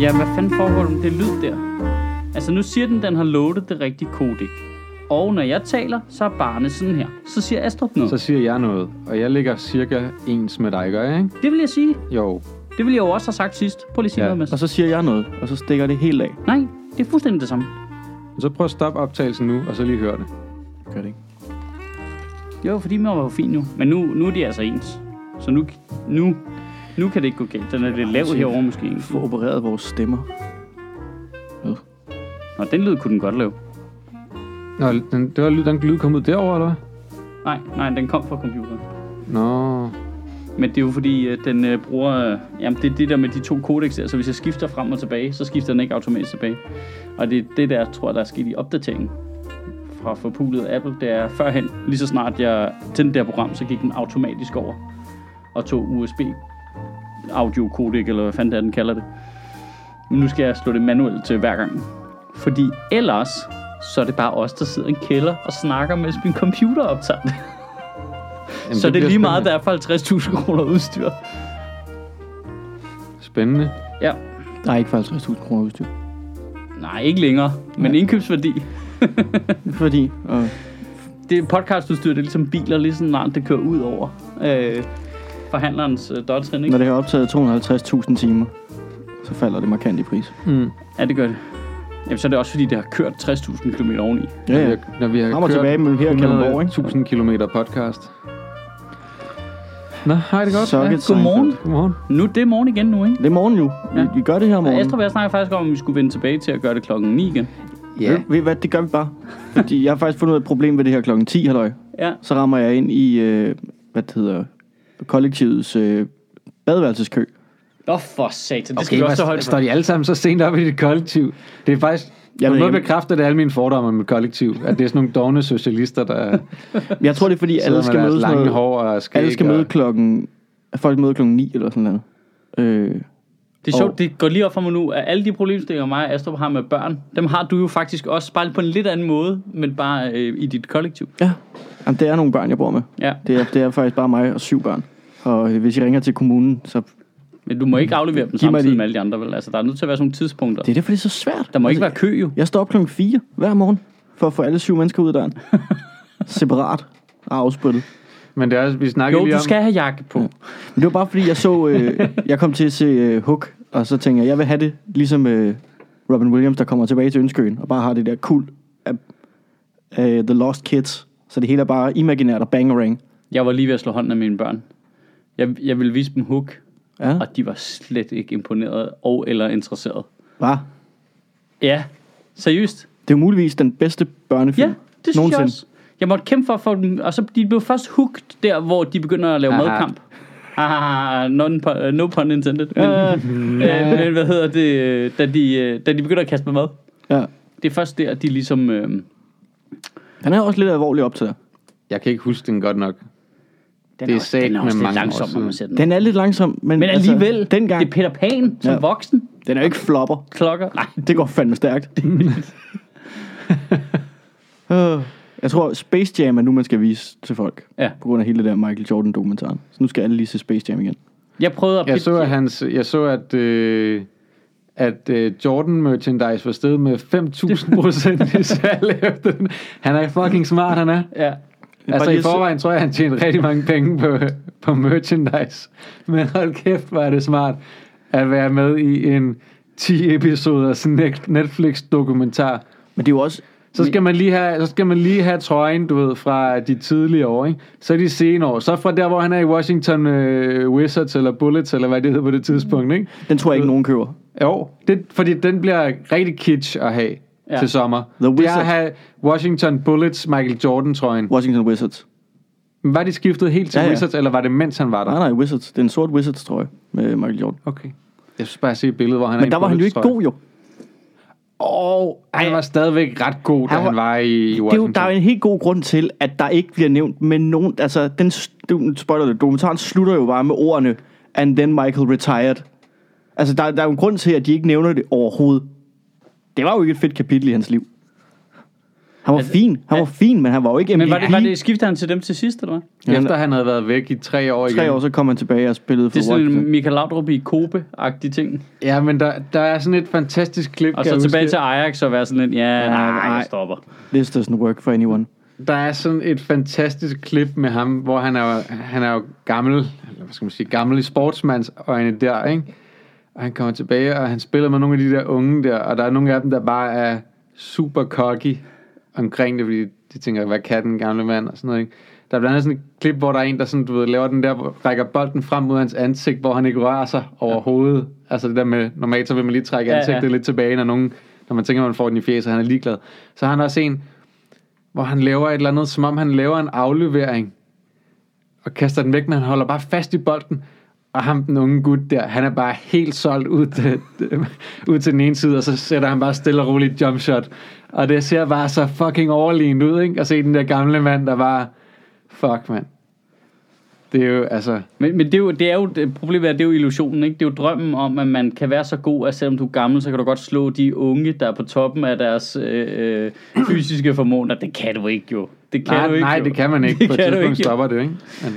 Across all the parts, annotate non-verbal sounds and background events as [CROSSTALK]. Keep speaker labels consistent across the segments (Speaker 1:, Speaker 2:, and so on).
Speaker 1: Ja, hvad fanden foregår der med det lyd der? Altså, nu siger den, den har loadet det rigtige kodik. Og når jeg taler, så er barnet sådan her. Så siger Astrup noget.
Speaker 2: Så siger jeg noget, og jeg ligger cirka ens med dig, gør jeg, ikke?
Speaker 1: Det vil jeg sige.
Speaker 2: Jo.
Speaker 1: Det ville jeg jo også have sagt sidst. Prøv lige at sige
Speaker 2: Ja.
Speaker 1: ja. noget, Mads.
Speaker 3: Og så siger jeg noget, og så stikker det helt af.
Speaker 1: Nej, det er fuldstændig det samme.
Speaker 2: Men så prøv at stoppe optagelsen nu, og så lige hør det.
Speaker 3: Gør det ikke?
Speaker 1: Jo, fordi man var jo fin nu. Men nu, nu er de altså ens. Så nu, nu, nu kan det ikke gå galt. Den er lidt lav
Speaker 3: se.
Speaker 1: herovre måske.
Speaker 3: Vi får opereret vores stemmer.
Speaker 1: Nå, den lyd kunne den godt lave.
Speaker 2: Nå, den, det var lyd, den lyd kom ud derovre, eller hvad?
Speaker 1: Nej, nej, den kom fra computeren.
Speaker 2: Nå.
Speaker 1: Men det er jo fordi, at den øh, bruger... Øh, jamen, det er det der med de to kodex der. Så hvis jeg skifter frem og tilbage, så skifter den ikke automatisk tilbage. Og det er det der, tror jeg, der er sket i opdateringen fra forpulet Apple. Det er førhen, lige så snart jeg tændte det her program, så gik den automatisk over og tog USB audio codec, eller hvad fanden det er, den kalder det. Men nu skal jeg slå det manuelt til hver gang. Fordi ellers, så er det bare os, der sidder i en kælder og snakker, mens min computer optager det.
Speaker 2: Jamen,
Speaker 1: så det er
Speaker 2: bliver
Speaker 1: lige meget, der er for 50.000 kroner udstyr.
Speaker 2: Spændende. Spændende.
Speaker 1: Ja.
Speaker 3: Der er ikke for 50.000 kroner udstyr.
Speaker 1: Nej, ikke længere. Men
Speaker 3: Nej.
Speaker 1: indkøbsværdi.
Speaker 3: Fordi, og
Speaker 1: Det podcastudstyr, det er ligesom biler, lige sådan nej, det kører ud over øh, forhandlerens øh, dødtrin, ikke?
Speaker 3: når det har optaget 250.000 timer, så falder det markant i pris.
Speaker 2: Mm.
Speaker 1: Ja, det gør det. Jamen, så er det også, fordi det har kørt 60.000 km oveni.
Speaker 3: Ja,
Speaker 2: Når
Speaker 3: ja.
Speaker 2: vi har, når vi har
Speaker 3: Frem og
Speaker 2: kørt
Speaker 3: tilbage mellem her og Kalundborg,
Speaker 2: 100.000
Speaker 3: ikke?
Speaker 2: km podcast. Nå, hej det godt.
Speaker 3: Så
Speaker 2: Ja.
Speaker 3: er det
Speaker 1: Godmorgen.
Speaker 3: Seinfeld.
Speaker 2: Godmorgen.
Speaker 1: Nu, det er morgen igen nu, ikke?
Speaker 3: Det er morgen nu. Vi,
Speaker 1: Ja.
Speaker 3: vi gør det her om
Speaker 1: Og
Speaker 3: morgenen.
Speaker 1: Estrup og jeg snakker faktisk om, om vi skulle vende tilbage til at gøre det klokken 9 igen.
Speaker 3: Ja. Ved, ved I hvad, det gør vi bare. Fordi jeg har faktisk fundet ud af et problem ved det her klokken 10, halløj.
Speaker 1: Ja,
Speaker 3: Så rammer jeg ind i, øh, hvad det hedder, kollektivets øh, badeværelseskø.
Speaker 1: Nå for satan, det skal
Speaker 2: Okay,
Speaker 1: vi også
Speaker 2: okay,
Speaker 1: holde
Speaker 2: hvad står de alle sammen så sent op i dit kollektiv? Det er faktisk... Jeg
Speaker 3: Jeg
Speaker 2: vil
Speaker 3: ved
Speaker 2: noget
Speaker 3: ikke.
Speaker 2: bekræfter det er alle mine fordomme om mit kollektiv, at det er sådan nogle dogne socialister,
Speaker 3: [LAUGHS]
Speaker 2: der
Speaker 3: Men Jeg tror, det er fordi, alle
Speaker 2: sidder
Speaker 3: skal
Speaker 2: med
Speaker 3: mødes
Speaker 2: deres lange
Speaker 3: noget-
Speaker 2: hår og skæg.
Speaker 3: Alle skal
Speaker 2: og-
Speaker 3: møde klokken... Folk møder klokken 9 eller sådan noget. Øh,
Speaker 1: Det er sjovt, det går lige op for mig nu, at alle de problemstillinger, mig og Astrup har med børn, dem har du jo faktisk også, bare på en lidt anden måde, men bare øh, i dit kollektiv.
Speaker 3: ja. Jamen, det er nogle børn, jeg bor med.
Speaker 1: Ja,
Speaker 3: Det er, det er faktisk bare mig og syv børn. Og øh, hvis I ringer til kommunen, så...
Speaker 1: men du må ikke aflevere dem
Speaker 3: Mm. Giv mig
Speaker 1: samtidig
Speaker 3: de-
Speaker 1: med alle de andre, vel? Altså, der er nødt til at være sådan nogle tidspunkter.
Speaker 3: Det er derfor, det er så svært. Altså,
Speaker 1: Der må ikke være kø, jo.
Speaker 3: Jeg står op klokken 4 hver morgen for at få alle syv mennesker ud af
Speaker 1: [LAUGHS]
Speaker 3: døren. Separat og afspyttet.
Speaker 2: Men det er også, vi snakker
Speaker 1: Jo,
Speaker 2: lige
Speaker 1: du
Speaker 2: om...
Speaker 1: skal have jakke på.
Speaker 3: Men det var bare fordi, jeg så... Øh, jeg kom til at se øh, Hook, og så tænkte jeg, jeg vil have det ligesom øh, Robin Williams, der kommer tilbage til Ønskeøen, og bare har det der kul af, af The Lost Kids. Så det hele er bare imaginært og bangerang.
Speaker 1: Jeg var lige ved at slå hånden af mine børn. Jeg, jeg ville vise dem hook,
Speaker 3: Ja,
Speaker 1: og de var slet ikke imponeret og eller interesseret.
Speaker 3: bare.
Speaker 1: Ja, seriøst.
Speaker 3: Det er jo muligvis den bedste børnefilm
Speaker 1: Ja, det synes jeg også. Jeg måtte kæmpe for at få dem, og så de blev først hooked der, hvor de begynder at lave
Speaker 2: Aha.
Speaker 1: madkamp. Ah, non, pu- no pun intended. Men,
Speaker 3: [LAUGHS]
Speaker 1: øh, men hvad hedder det, øh, da de, øh, da de begynder at kaste med mad.
Speaker 3: Ja.
Speaker 1: Det er først der, de ligesom... Øh,
Speaker 3: Han er også lidt alvorlig op til det.
Speaker 2: Jeg kan ikke huske den godt nok.
Speaker 1: den
Speaker 2: Det er
Speaker 1: også, den
Speaker 2: satme
Speaker 1: er også lidt
Speaker 2: mange år
Speaker 1: langsom, når
Speaker 2: siden.
Speaker 1: man ser den.
Speaker 3: Den er lidt langsom, men,
Speaker 1: Men alligevel,
Speaker 3: altså, dengang,
Speaker 1: det er Peter Pan som
Speaker 3: Ja.
Speaker 1: voksen
Speaker 3: den er jo ikke flopper.
Speaker 1: klokker. Nej,
Speaker 3: Det går fandme stærkt. [LAUGHS] Øh, jeg tror, Space Jam er nu, man skal vise til folk.
Speaker 1: Ja.
Speaker 3: På grund af hele det der Michael Jordan-dokumentaren. Så nu skal alle lige se Space Jam igen.
Speaker 1: jeg prøvede at
Speaker 2: Jeg så,
Speaker 1: pitche-
Speaker 2: at, hans, jeg så, at, øh, at øh, Jordan merchandise var steget med 5.000 procent i salg [LAUGHS] efter den. Han er fucking smart, han er.
Speaker 1: Ja.
Speaker 2: Altså
Speaker 3: Bare
Speaker 2: i
Speaker 3: lige så-
Speaker 2: forvejen tror jeg, han tjente rigtig mange penge på, på merchandise. Men hold kæft, hvor er det smart at være med i en 10 episoders net- Netflix-dokumentar.
Speaker 3: Men det er jo også...
Speaker 2: Så skal, man lige have, så skal man lige have trøjen, du ved, fra de tidlige år, ikke? Så de senere år. Så fra der, hvor han er i Washington øh, Wizards, eller Bullets, eller hvad det hedder på det
Speaker 3: Mm.
Speaker 2: tidspunkt, ikke?
Speaker 3: Den tror jeg ikke, nogen køber.
Speaker 2: Jo, det, fordi den bliver rigtig kitsch at have
Speaker 1: Ja.
Speaker 2: ja. til sommer.
Speaker 3: The
Speaker 2: det er
Speaker 3: Wizard.
Speaker 2: at have Washington Bullets, Michael Jordan-trøjen.
Speaker 3: Washington Wizards.
Speaker 2: Var de skiftet helt til
Speaker 3: Ja,
Speaker 2: ja,
Speaker 3: ja.
Speaker 2: ja. Wizards, eller var det mens han var der?
Speaker 3: Nej, nej, Wizards. Det er en sort Wizards, tror jeg, med Michael Jordan.
Speaker 2: Okay. Jeg synes bare, jeg se et billede, hvor han er
Speaker 3: Men der var han jo ikke god, jo.
Speaker 2: Og han var stadigvæk ret god, da
Speaker 3: Han
Speaker 2: han
Speaker 3: var-
Speaker 2: var, i
Speaker 3: Det er jo,
Speaker 2: Washington.
Speaker 3: der er jo en helt god grund til, at der ikke bliver nævnt med nogen... Altså, den, s- du- spoiler det, dokumentaren slutter jo bare med ordene, and then Michael retired. Altså, der, der er jo en grund til, at de ikke nævner det overhovedet. Det var jo ikke et fedt kapitel i hans liv. Han var
Speaker 1: Altså,
Speaker 3: fin. Han var fin, men han var jo ikke MVP.
Speaker 1: Men var det, var det, skifter han til dem til sidst, eller hvad?
Speaker 3: Ja.
Speaker 2: Efter han havde været væk i tre år igen.
Speaker 3: Tre år, så kom han tilbage og spillede for
Speaker 1: Det er sådan en
Speaker 3: Washington.
Speaker 1: Michael Laudrup i Kobe-agtig ting.
Speaker 2: Ja, men der, der er sådan et fantastisk klip.
Speaker 1: Og
Speaker 2: kan jeg
Speaker 1: så tilbage
Speaker 2: huske.
Speaker 1: til Ajax og være sådan lidt, ja, nej,
Speaker 3: nej.
Speaker 1: jeg stopper.
Speaker 3: This doesn't work for anyone.
Speaker 2: Der er sådan et fantastisk klip med ham, hvor han er, jo- han er jo gammel, eller hvad skal man sige, gammel i sportsmands øjne der, ikke? Og han kommer tilbage, og han spiller med nogle af de der unge der, og der er nogle af dem, der bare er super cocky omkring det, fordi de tænker, hvad kan den gamle mand, og sådan noget, ikke? Der er blandt andet sådan et klip, hvor der er en, der sådan, du ved, laver den der, hvor- rækker bolden frem mod hans ansigt, hvor han ikke rører sig overhovedet. Altså det der med, normalt så vil man lige trække
Speaker 1: Ja, ja.
Speaker 2: ansigtet lidt tilbage, når, nogen, når man tænker, man får den i fjes, og han er ligeglad. Så har han også en, hvor han laver et eller andet, som om han laver en aflevering, og kaster den væk, men han holder bare fast i bolden. Og ham, den unge gut der, han er bare helt solgt ud til, [LAUGHS] ud til den ene side, og så sætter han bare stille og roligt et jump shot. Og det ser bare så fucking overlegent ud, ikke? At se den der gamle mand, der bare, fuck mand. Det er jo, altså,
Speaker 1: Men, men det, er jo, det er jo, det, problemet er, det er jo illusionen, ikke? Det er jo drømmen om, at man kan være så god, at selvom du er gammel, så kan du godt slå de unge, der er på toppen af deres øh, øh, fysiske formåner. Det kan du ikke jo. Det kan
Speaker 2: nej,
Speaker 1: du ikke
Speaker 2: nej
Speaker 1: jo.
Speaker 2: det
Speaker 1: [LAUGHS]
Speaker 2: kan man ikke. Det På et
Speaker 1: kan du
Speaker 2: tidspunkt
Speaker 1: ikke, jo.
Speaker 2: stopper det, ikke? Men,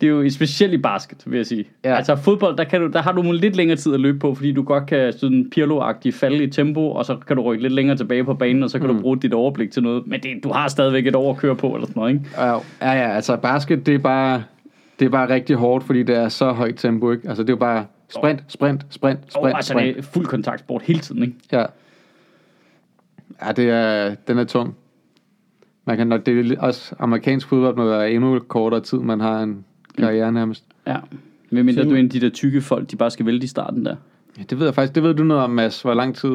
Speaker 1: Det er jo specielt i basket, vil jeg sige.
Speaker 2: Ja.
Speaker 1: Ja. Altså fodbold, der, kan du, der har du lidt længere tid at løbe på, fordi du godt kan sådan pirlo falde i tempo, og så kan du rykke lidt længere tilbage på banen, og så kan mm. du bruge dit overblik til noget. Men det, du har stadigvæk et år at køre på, eller sådan noget, ikke?
Speaker 2: Ja, ja, ja, altså basket, det er bare, det er bare rigtig hårdt, fordi det er så højt tempo, ikke? Altså, det er jo bare sprint, sprint, sprint, sprint,
Speaker 1: Og altså,
Speaker 2: sprint.
Speaker 1: det er fuld kontaktsport hele tiden, ikke?
Speaker 2: Ja. Ja, det er, den er tung. Man kan nok, det er lidt- også amerikansk fodbold må være endnu kortere tid, man har en karriere nærmest.
Speaker 1: Ja. Hvem mindre du er en af de der tykke folk, de bare skal vælte i starten der.
Speaker 2: Ja, det ved jeg faktisk. Det ved du noget om, Mads. Hvor lang tid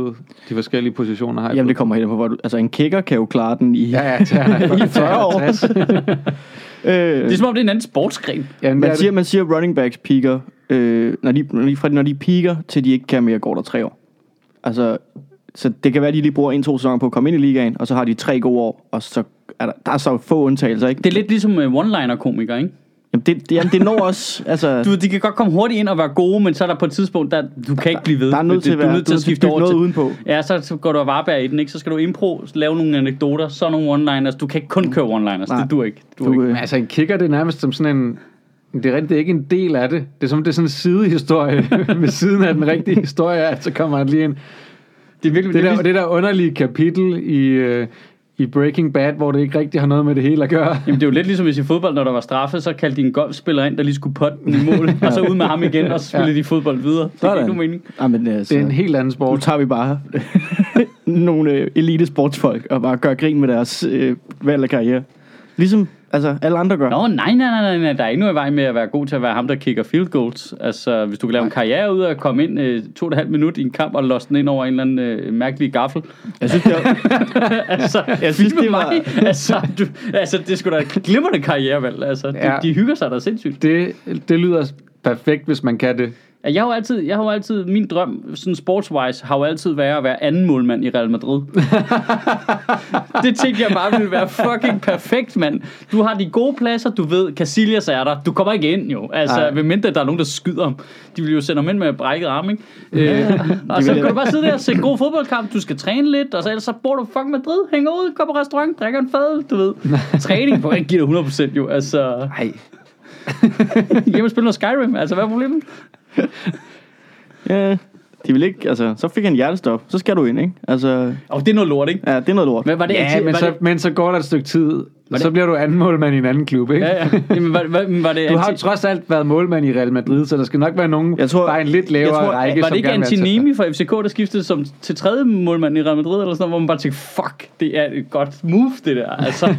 Speaker 2: de forskellige positioner har. i
Speaker 3: Jamen, det kommer helt an på, hvor du... Altså, en kicker kan jo klare den i...
Speaker 2: fodbold. Ja, ja, det [LAUGHS] er,
Speaker 3: I 40 år. øh,
Speaker 1: Det er som om, det er en anden sportsgren.
Speaker 2: Jamen, det er
Speaker 3: man, siger,
Speaker 2: det.
Speaker 3: man siger, running backs peaker, øh, når, de, når, de, fra, når de peaker, til de ikke kan mere, går der tre år. Altså, så det kan være, at de lige bruger en-to sæsoner på at komme ind i ligaen, og så har de tre gode år, og så er der, der er så få undtagelser, ikke?
Speaker 1: Det er lidt ligesom uh, one-liner-komikere, ikke?
Speaker 3: Jamen, det, det, jamen, det når også... Altså,
Speaker 1: Du, ved, de kan godt komme hurtigt ind og være gode, men så er der på et tidspunkt, der, du kan ikke blive ved.
Speaker 3: der er nødt
Speaker 1: Det-
Speaker 3: til at
Speaker 1: du er
Speaker 3: være-
Speaker 1: nødt til
Speaker 3: du
Speaker 1: at
Speaker 3: er nødt til at
Speaker 1: skifte
Speaker 3: bygge
Speaker 1: over
Speaker 3: noget
Speaker 1: til,
Speaker 3: udenpå.
Speaker 1: Ja, så, så går du og varebær i den, ikke? Så skal du impro, lave nogle anekdoter, så nogle one-liners. Du kan ikke kun køre one-liners,
Speaker 3: Nej.
Speaker 1: det dur ikke. Du,
Speaker 3: du,
Speaker 1: ikke.
Speaker 2: Men
Speaker 3: øh,
Speaker 2: altså, en kicker, det er nærmest som sådan en... Det er rigtigt, det er ikke en del af det. Det er som, det er sådan en sidehistorie [LAUGHS] ved siden af den rigtige historie, at så kommer der lige en...
Speaker 1: Det er virkelig,
Speaker 2: Det
Speaker 1: det,
Speaker 2: der,
Speaker 1: det,
Speaker 2: det der underlige kapitel i, øh, i Breaking Bad, hvor det ikke rigtig har noget med det hele at gøre.
Speaker 1: Jamen, det er jo lidt ligesom hvis i fodbold, når der var straffe, så kaldte de en golfspiller ind, der lige skulle potte den i
Speaker 3: [LAUGHS]
Speaker 1: mål, og så ud med ham igen, og så spillede de fodbold videre. Det er
Speaker 3: Sådan.
Speaker 1: ikke nogen mening.
Speaker 3: jamen, altså,
Speaker 2: Det er en helt anden
Speaker 3: nu
Speaker 2: sport.
Speaker 3: tager vi bare [LAUGHS] nogle øh, elite sportsfolk og bare gør grin med deres øh, valg af karriere. Ligesom altså, alle andre gør.
Speaker 1: Nå, nej, nej, nej, nej, der er ikke noget i vejen med at være god til at være ham, der kicker field goals. Altså, hvis du kan lave en karriere ud af at komme ind øh, to og et halvt minut i en kamp og losse den ind over en eller anden øh, mærkelig gaffel.
Speaker 3: Jeg synes, det er,
Speaker 1: [LAUGHS]
Speaker 3: [LAUGHS]
Speaker 1: Altså,
Speaker 3: Jeg synes,
Speaker 1: fy med
Speaker 3: det var-
Speaker 1: mig. [LAUGHS] altså, du, altså, det skulle da et glimrende karrierevalg. Altså, de,
Speaker 2: Ja.
Speaker 1: de, hygger sig da sindssygt.
Speaker 2: Det, det lyder perfekt, hvis man kan det.
Speaker 1: Jeg har jo altid, jeg har jo altid min drøm, sådan sportswise, har jo altid været at være anden målmand i Real Madrid. det tænkte jeg bare ville være fucking perfekt, mand. Du har de gode pladser, du ved, Casillas er der. Du kommer ikke ind jo. Altså,
Speaker 2: Nej.
Speaker 1: ved mindre der er nogen, der skyder ham. De vil jo sende ham ind med brækket arm, ikke? Øh, og så
Speaker 3: vil-
Speaker 1: kan du bare sidde der og se en god fodboldkamp. Du skal træne lidt, og så ellers så bor du i fucking Madrid, hænger ud, går på restaurant, drikker en fad, du ved. Træning på ikke give dig 100% jo. Altså,
Speaker 2: Nej.
Speaker 1: hjemme og spille noget Skyrim. Altså, hvad er problemet?
Speaker 3: ja, de vil ikke, altså, så fik han hjertestop. Så skal du ind, ikke? Altså,
Speaker 1: Og det er noget lort, ikke?
Speaker 3: Ja, det er noget lort.
Speaker 1: Hvad var det?
Speaker 2: Ja,
Speaker 1: Ati-
Speaker 2: men
Speaker 1: var
Speaker 2: så,
Speaker 1: det-
Speaker 2: men så går der et stykke tid, og så bliver du anden målmand i en anden klub, ikke?
Speaker 1: Ja, ja. Jamen, var, var, var det
Speaker 2: Du har jo
Speaker 1: Anti-
Speaker 2: trods alt været målmand i Real Madrid, så der skal nok være nogen,
Speaker 3: Jeg tror-
Speaker 2: bare en lidt lavere
Speaker 3: jeg tror-
Speaker 2: række,
Speaker 1: var
Speaker 2: som
Speaker 1: det ikke
Speaker 2: gerne vil ansætte dig.
Speaker 1: Antinemi fra FCK, der skiftede som til tredje målmand i Real Madrid, eller sådan noget, hvor man bare tænkte, fuck, det er et godt move, det der.
Speaker 2: [LAUGHS]
Speaker 1: Altså,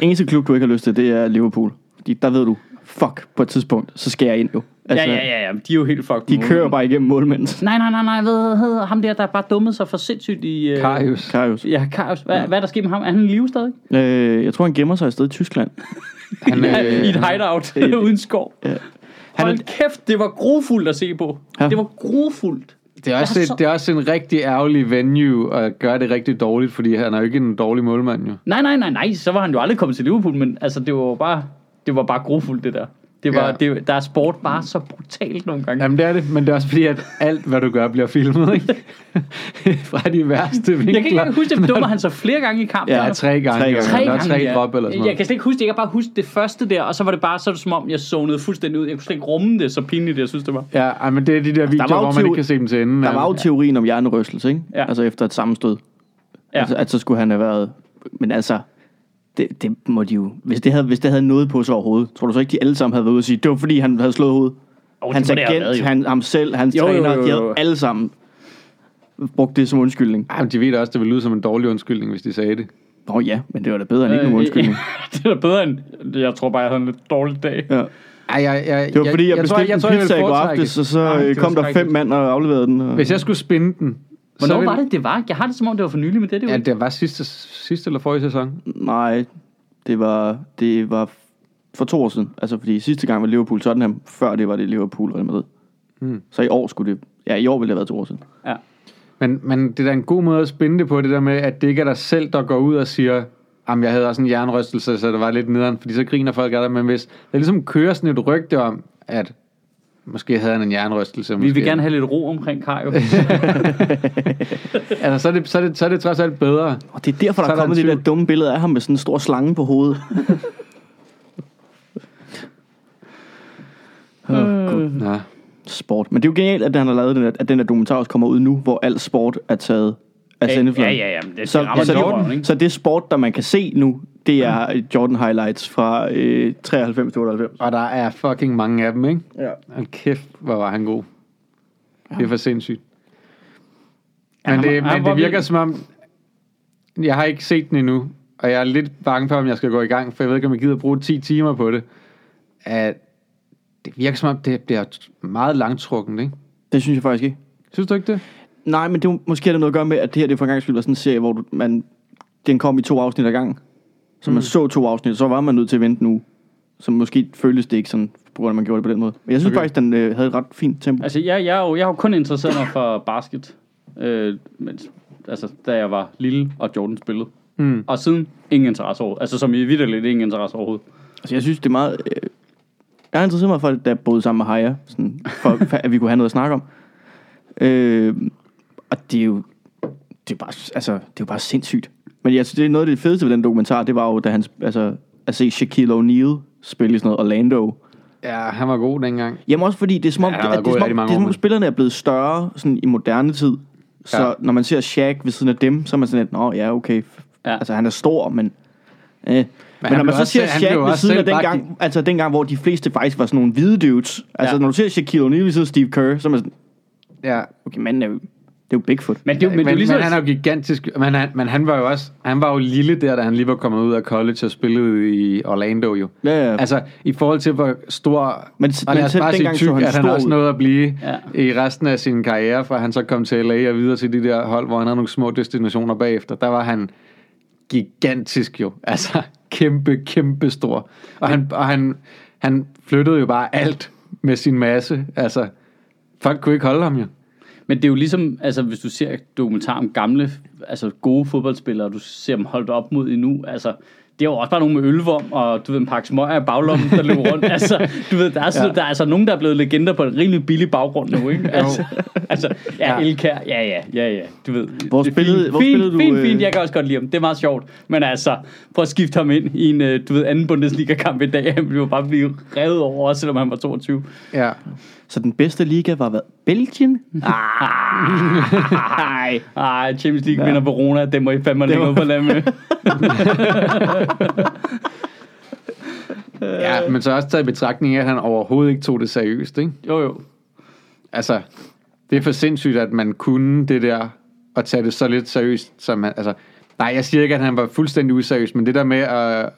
Speaker 3: Eneste klub, du ikke har lyst til, det er Liverpool. Fordi der ved du, fuck, på et tidspunkt, så skal jeg ind jo.
Speaker 2: Altså,
Speaker 3: Altså,
Speaker 1: ja, ja, ja, ja, de er jo helt fucked.
Speaker 3: De
Speaker 1: målmænd.
Speaker 3: kører bare igennem målmænd.
Speaker 1: Nej, nej, nej, nej, hvad hedder ham der, der bare dummede sig for sindssygt i... Øh...
Speaker 2: Karius.
Speaker 3: Karius.
Speaker 1: Ja, Karius. Hvad, hvad er der sket med ham? Er han i live stadig?
Speaker 3: Øh, jeg tror, han gemmer sig et sted i Tyskland.
Speaker 2: Han,
Speaker 1: Ja, I et
Speaker 2: øh,
Speaker 1: hideout
Speaker 3: øh,
Speaker 1: [LAUGHS] uden skov.
Speaker 3: ja. Han
Speaker 1: Hold kæft, det var grufuldt at se på.
Speaker 3: Ja.
Speaker 1: Det var grufuldt.
Speaker 2: det, er også
Speaker 1: Jeg
Speaker 2: et,
Speaker 1: har så-
Speaker 2: det er også en rigtig ærgerlig venue at gøre det rigtig dårligt, fordi han er jo ikke en dårlig målmand, jo.
Speaker 1: Nej, nej, nej, nej, så var han jo aldrig kommet til Liverpool, men altså, det var jo bare, det var bare grufuldt, det der. Det var,
Speaker 2: Ja.
Speaker 1: ja. det, der er sport bare så brutalt nogle gange.
Speaker 2: Jamen det er det, men det er også fordi, at alt hvad du gør bliver filmet, [LAUGHS] ikke? Fra de værste vinkler.
Speaker 1: Jeg kan ikke engang huske, det dummer han så flere gange i kampen.
Speaker 2: Ja, tre gange.
Speaker 3: Tre
Speaker 2: Tre gange.
Speaker 3: gange.
Speaker 2: Der er tre
Speaker 1: ja.
Speaker 2: drop eller sådan
Speaker 1: Jeg
Speaker 2: noget.
Speaker 1: kan slet ikke huske det. Jeg kan bare huske det første der, og så var det bare så, det som om, jeg zonede fuldstændig ud. Jeg kunne slet ikke rumme det, så pinligt jeg synes, det var.
Speaker 2: Ja, ej, men det er de der videoer,
Speaker 3: Altså, var jo
Speaker 2: hvor man ikke
Speaker 3: teori-
Speaker 2: kan se dem til enden.
Speaker 3: Der var jo teorien om hjernerystelse, ikke?
Speaker 1: Ja.
Speaker 3: Altså efter et sammenstød.
Speaker 1: Ja.
Speaker 3: Altså, at så skulle han have været... Men altså, det, det må de jo... Hvis det, havde, hvis det havde noget på sig overhovedet, tror du så ikke, de alle sammen havde været ude og sige, det var fordi, han havde slået hovedet?
Speaker 1: Oh,
Speaker 3: Hans agent, han, ham selv, hans
Speaker 1: Jo, jo,
Speaker 3: træner,
Speaker 1: jo,
Speaker 3: de
Speaker 1: jo.
Speaker 3: havde alle sammen brugt det som undskyldning.
Speaker 2: Jamen, de ved da også, det ville lyde som en dårlig undskyldning, hvis de sagde det.
Speaker 3: Nå ja, men det var da bedre end ikke
Speaker 2: Øh,
Speaker 3: nogen
Speaker 1: [LAUGHS]
Speaker 3: undskyldning.
Speaker 1: Øh, det er da bedre end... Jeg tror bare, jeg havde en lidt dårlig dag.
Speaker 3: Ja.
Speaker 2: Ej, jeg, jeg,
Speaker 3: Det var fordi, jeg, bestilte
Speaker 2: jeg
Speaker 3: en
Speaker 2: tror, jeg ville
Speaker 3: pizza i går
Speaker 2: foretrække-
Speaker 3: aftes, og så
Speaker 2: Ej,
Speaker 3: øh,
Speaker 2: det var
Speaker 3: kom der
Speaker 2: skrækkeligt.
Speaker 3: fem mand og afleverede den. Og...
Speaker 2: Hvis jeg skulle spinde den... så
Speaker 1: Hvornår
Speaker 2: ville-
Speaker 1: var det, det var? Jeg har det som om, det var for nylig, men det er det jo
Speaker 2: Ja,
Speaker 1: ikke.
Speaker 2: det var sidste, sidste eller forrige sæson.
Speaker 3: Nej, det var, det var for to år siden. Altså, fordi sidste gang var Liverpool Tottenham, før det var det Liverpool Real Madrid.
Speaker 2: Hmm.
Speaker 3: Så i år skulle det... Ja, i år ville det have været to år siden.
Speaker 1: Ja.
Speaker 2: Men, men det er da en god måde at spinde det på, det der med, at det ikke er dig selv, der går ud og siger, jamen jeg havde også en jernrystelse, så det var lidt nederen, fordi så griner folk af dig. Men hvis der ligesom kører sådan et rygte om, at måske havde han en jernrystelse.
Speaker 1: Vi
Speaker 2: Måske.
Speaker 1: vil gerne have lidt ro omkring
Speaker 2: [LAUGHS]
Speaker 1: Kajo.
Speaker 2: Altså, så er det, så er det, så er det trods alt bedre.
Speaker 3: Og det er derfor, der
Speaker 2: Så er
Speaker 3: er
Speaker 2: der
Speaker 3: kommet
Speaker 2: en
Speaker 3: det der
Speaker 2: tvivl.
Speaker 3: dumme billede af ham med sådan en stor slange på hovedet.
Speaker 2: Nå.
Speaker 3: Sport. Men det er jo genialt, at han har lavet den, at den der dokumentar også kommer ud nu, hvor alt sport er taget af
Speaker 1: ja,
Speaker 3: sendefladen.
Speaker 1: ja, ja. men Det,
Speaker 3: Så,
Speaker 1: det rammer
Speaker 3: så,
Speaker 1: lige røven,
Speaker 3: Jordan,
Speaker 1: ikke? Mm.
Speaker 3: så det sport, der man kan se nu, det er øh, Jordan highlights fra øh, 93-98.
Speaker 2: Og der er fucking mange af dem, ikke?
Speaker 3: Ja.
Speaker 2: Hold kæft, hvor var han god. Det er for sindssygt.
Speaker 1: han
Speaker 2: Men
Speaker 1: var-
Speaker 2: det,
Speaker 1: han
Speaker 2: men
Speaker 1: var
Speaker 2: det virker
Speaker 1: vild.
Speaker 2: som om, jeg har ikke set den endnu, og jeg er lidt bange for, om jeg skal gå i gang, for jeg ved ikke, om jeg gider bruge 10 timer på det. At det virker som om, det bliver meget langtrukken, ikke?
Speaker 3: Det synes jeg faktisk ikke.
Speaker 2: Synes du ikke det?
Speaker 3: Nej, men det, er jo- måske har det noget at gøre med, at det her det for en gang skyld var sådan en serie, hvor du, man, den kom i to afsnit ad gang. Så
Speaker 1: Mm.
Speaker 3: man så to afsnit, så var man nødt til at vente nu. Så måske føltes det ikke sådan, på grund af, at man gjorde det på den måde. Men jeg synes
Speaker 2: Okay.
Speaker 3: okay. faktisk, den øh, havde et ret fint tempo.
Speaker 1: Altså, jeg, jeg, er jo, jeg har jo kun interesseret mig for basket, øh, mens, altså, da jeg var lille, og Jordan spillede.
Speaker 2: Mm.
Speaker 1: Og siden, ingen interesse overhovedet. Altså, som i vidderligt, ingen interesse overhovedet.
Speaker 3: Altså, jeg synes, det er meget... Øh, jeg har interesseret mig for det, da jeg boede sammen med Haya, sådan, for, for at vi kunne have noget at snakke om. Øh, og det er jo... Det er, bare, altså, det er jo bare sindssygt. Men jeg synes, det er noget af det fedeste ved den dokumentar, det var jo, da han, altså, at se Shaquille O'Neal spille i sådan noget Orlando.
Speaker 2: Ja, han var god dengang.
Speaker 3: Jamen også fordi, det er som om,
Speaker 2: Ja,
Speaker 3: ja,
Speaker 2: han har
Speaker 3: det,
Speaker 2: været
Speaker 3: at det,
Speaker 2: god i
Speaker 3: er,
Speaker 2: rigtig mange
Speaker 3: som om, det er, som
Speaker 2: år,
Speaker 3: om
Speaker 2: men-
Speaker 3: spillerne er blevet større sådan i moderne tid. Så
Speaker 2: Ja.
Speaker 3: ja. når man ser Shaq ved siden af dem, så er man sådan lidt, nå ja, okay.
Speaker 1: Ja.
Speaker 3: Ja. Altså han er stor, men... Øh. Men, men
Speaker 2: han
Speaker 3: når man
Speaker 2: blev
Speaker 3: så
Speaker 2: også
Speaker 3: ser
Speaker 2: selv- han blev
Speaker 3: Shaq ved
Speaker 2: også
Speaker 3: siden af
Speaker 2: selv bare
Speaker 3: dengang, altså dengang, hvor de fleste faktisk var sådan nogle hvide dudes. Altså
Speaker 1: Ja.
Speaker 3: når du ser Shaquille O'Neal ved siden af Steve Kerr, så er man sådan,
Speaker 2: Ja,
Speaker 3: okay, manden er jo, det er jo Bigfoot.
Speaker 1: Men det, er jo- men,
Speaker 2: men,
Speaker 1: det er jo ligesom...
Speaker 2: men han er jo gigantisk, men han, men han var jo også, han var jo lille der, da han lige var kommet ud af college og spillede i Orlando jo.
Speaker 3: Ja, ja.
Speaker 2: Altså, i forhold til hvor stor, og
Speaker 3: Men- men
Speaker 2: lad os
Speaker 3: selv
Speaker 2: bare sige
Speaker 3: dengang så
Speaker 2: tyk,
Speaker 3: han
Speaker 2: at han
Speaker 3: stor
Speaker 2: også
Speaker 3: ud.
Speaker 2: nåede at blive
Speaker 1: Ja.
Speaker 2: ja. i resten af sin karriere, fra han så kom til LA og videre til de der hold, hvor han havde nogle små destinationer bagefter. Der var han gigantisk jo, altså [LAUGHS] kæmpe, kæmpe stor. Og, han, og han, han flyttede jo bare alt med sin masse, altså folk kunne ikke holde ham jo.
Speaker 1: Men det er jo ligesom, altså hvis du ser dokumentar om gamle, altså gode fodboldspillere, og du ser dem holdt op mod endnu, altså det er jo også bare nogen med ølvom, og du ved, en pakke smøger i baglommen, der løber rundt. Altså, du ved, der er, ja. der er altså nogen, der er blevet legender på en rimelig billig baggrund nu, ikke? Altså, altså ja,
Speaker 2: Ja.
Speaker 1: Elkær, ja, ja, ja, ja, du ved.
Speaker 3: Hvor
Speaker 1: det er
Speaker 3: spillede-
Speaker 1: fint,
Speaker 3: hvor
Speaker 1: fint,
Speaker 3: spillede du,
Speaker 1: Fint,
Speaker 3: øh,
Speaker 1: fint, jeg kan også godt lide ham. Det er meget sjovt. Men altså, prøv at skifte ham ind i en, øh, du ved, anden Bundesliga-kamp i dag. [LAUGHS] Han ville jo bare blive revet over, også selvom han var 22.
Speaker 2: Ja.
Speaker 3: Så den bedste liga var hvad? Belgien?
Speaker 1: Nej, nej, Champions League ja. vinder Verona, det må I fandme lægge
Speaker 3: må-
Speaker 1: noget på land
Speaker 3: [LAUGHS]
Speaker 1: med.
Speaker 2: ja, men så også taget i betragtning af, at han overhovedet ikke tog det seriøst, ikke?
Speaker 1: Jo, jo.
Speaker 2: altså, det er for sindssygt, at man kunne det der, og tage det så lidt seriøst, som man, altså, nej, jeg siger ikke, at han var fuldstændig useriøs, men det der med at,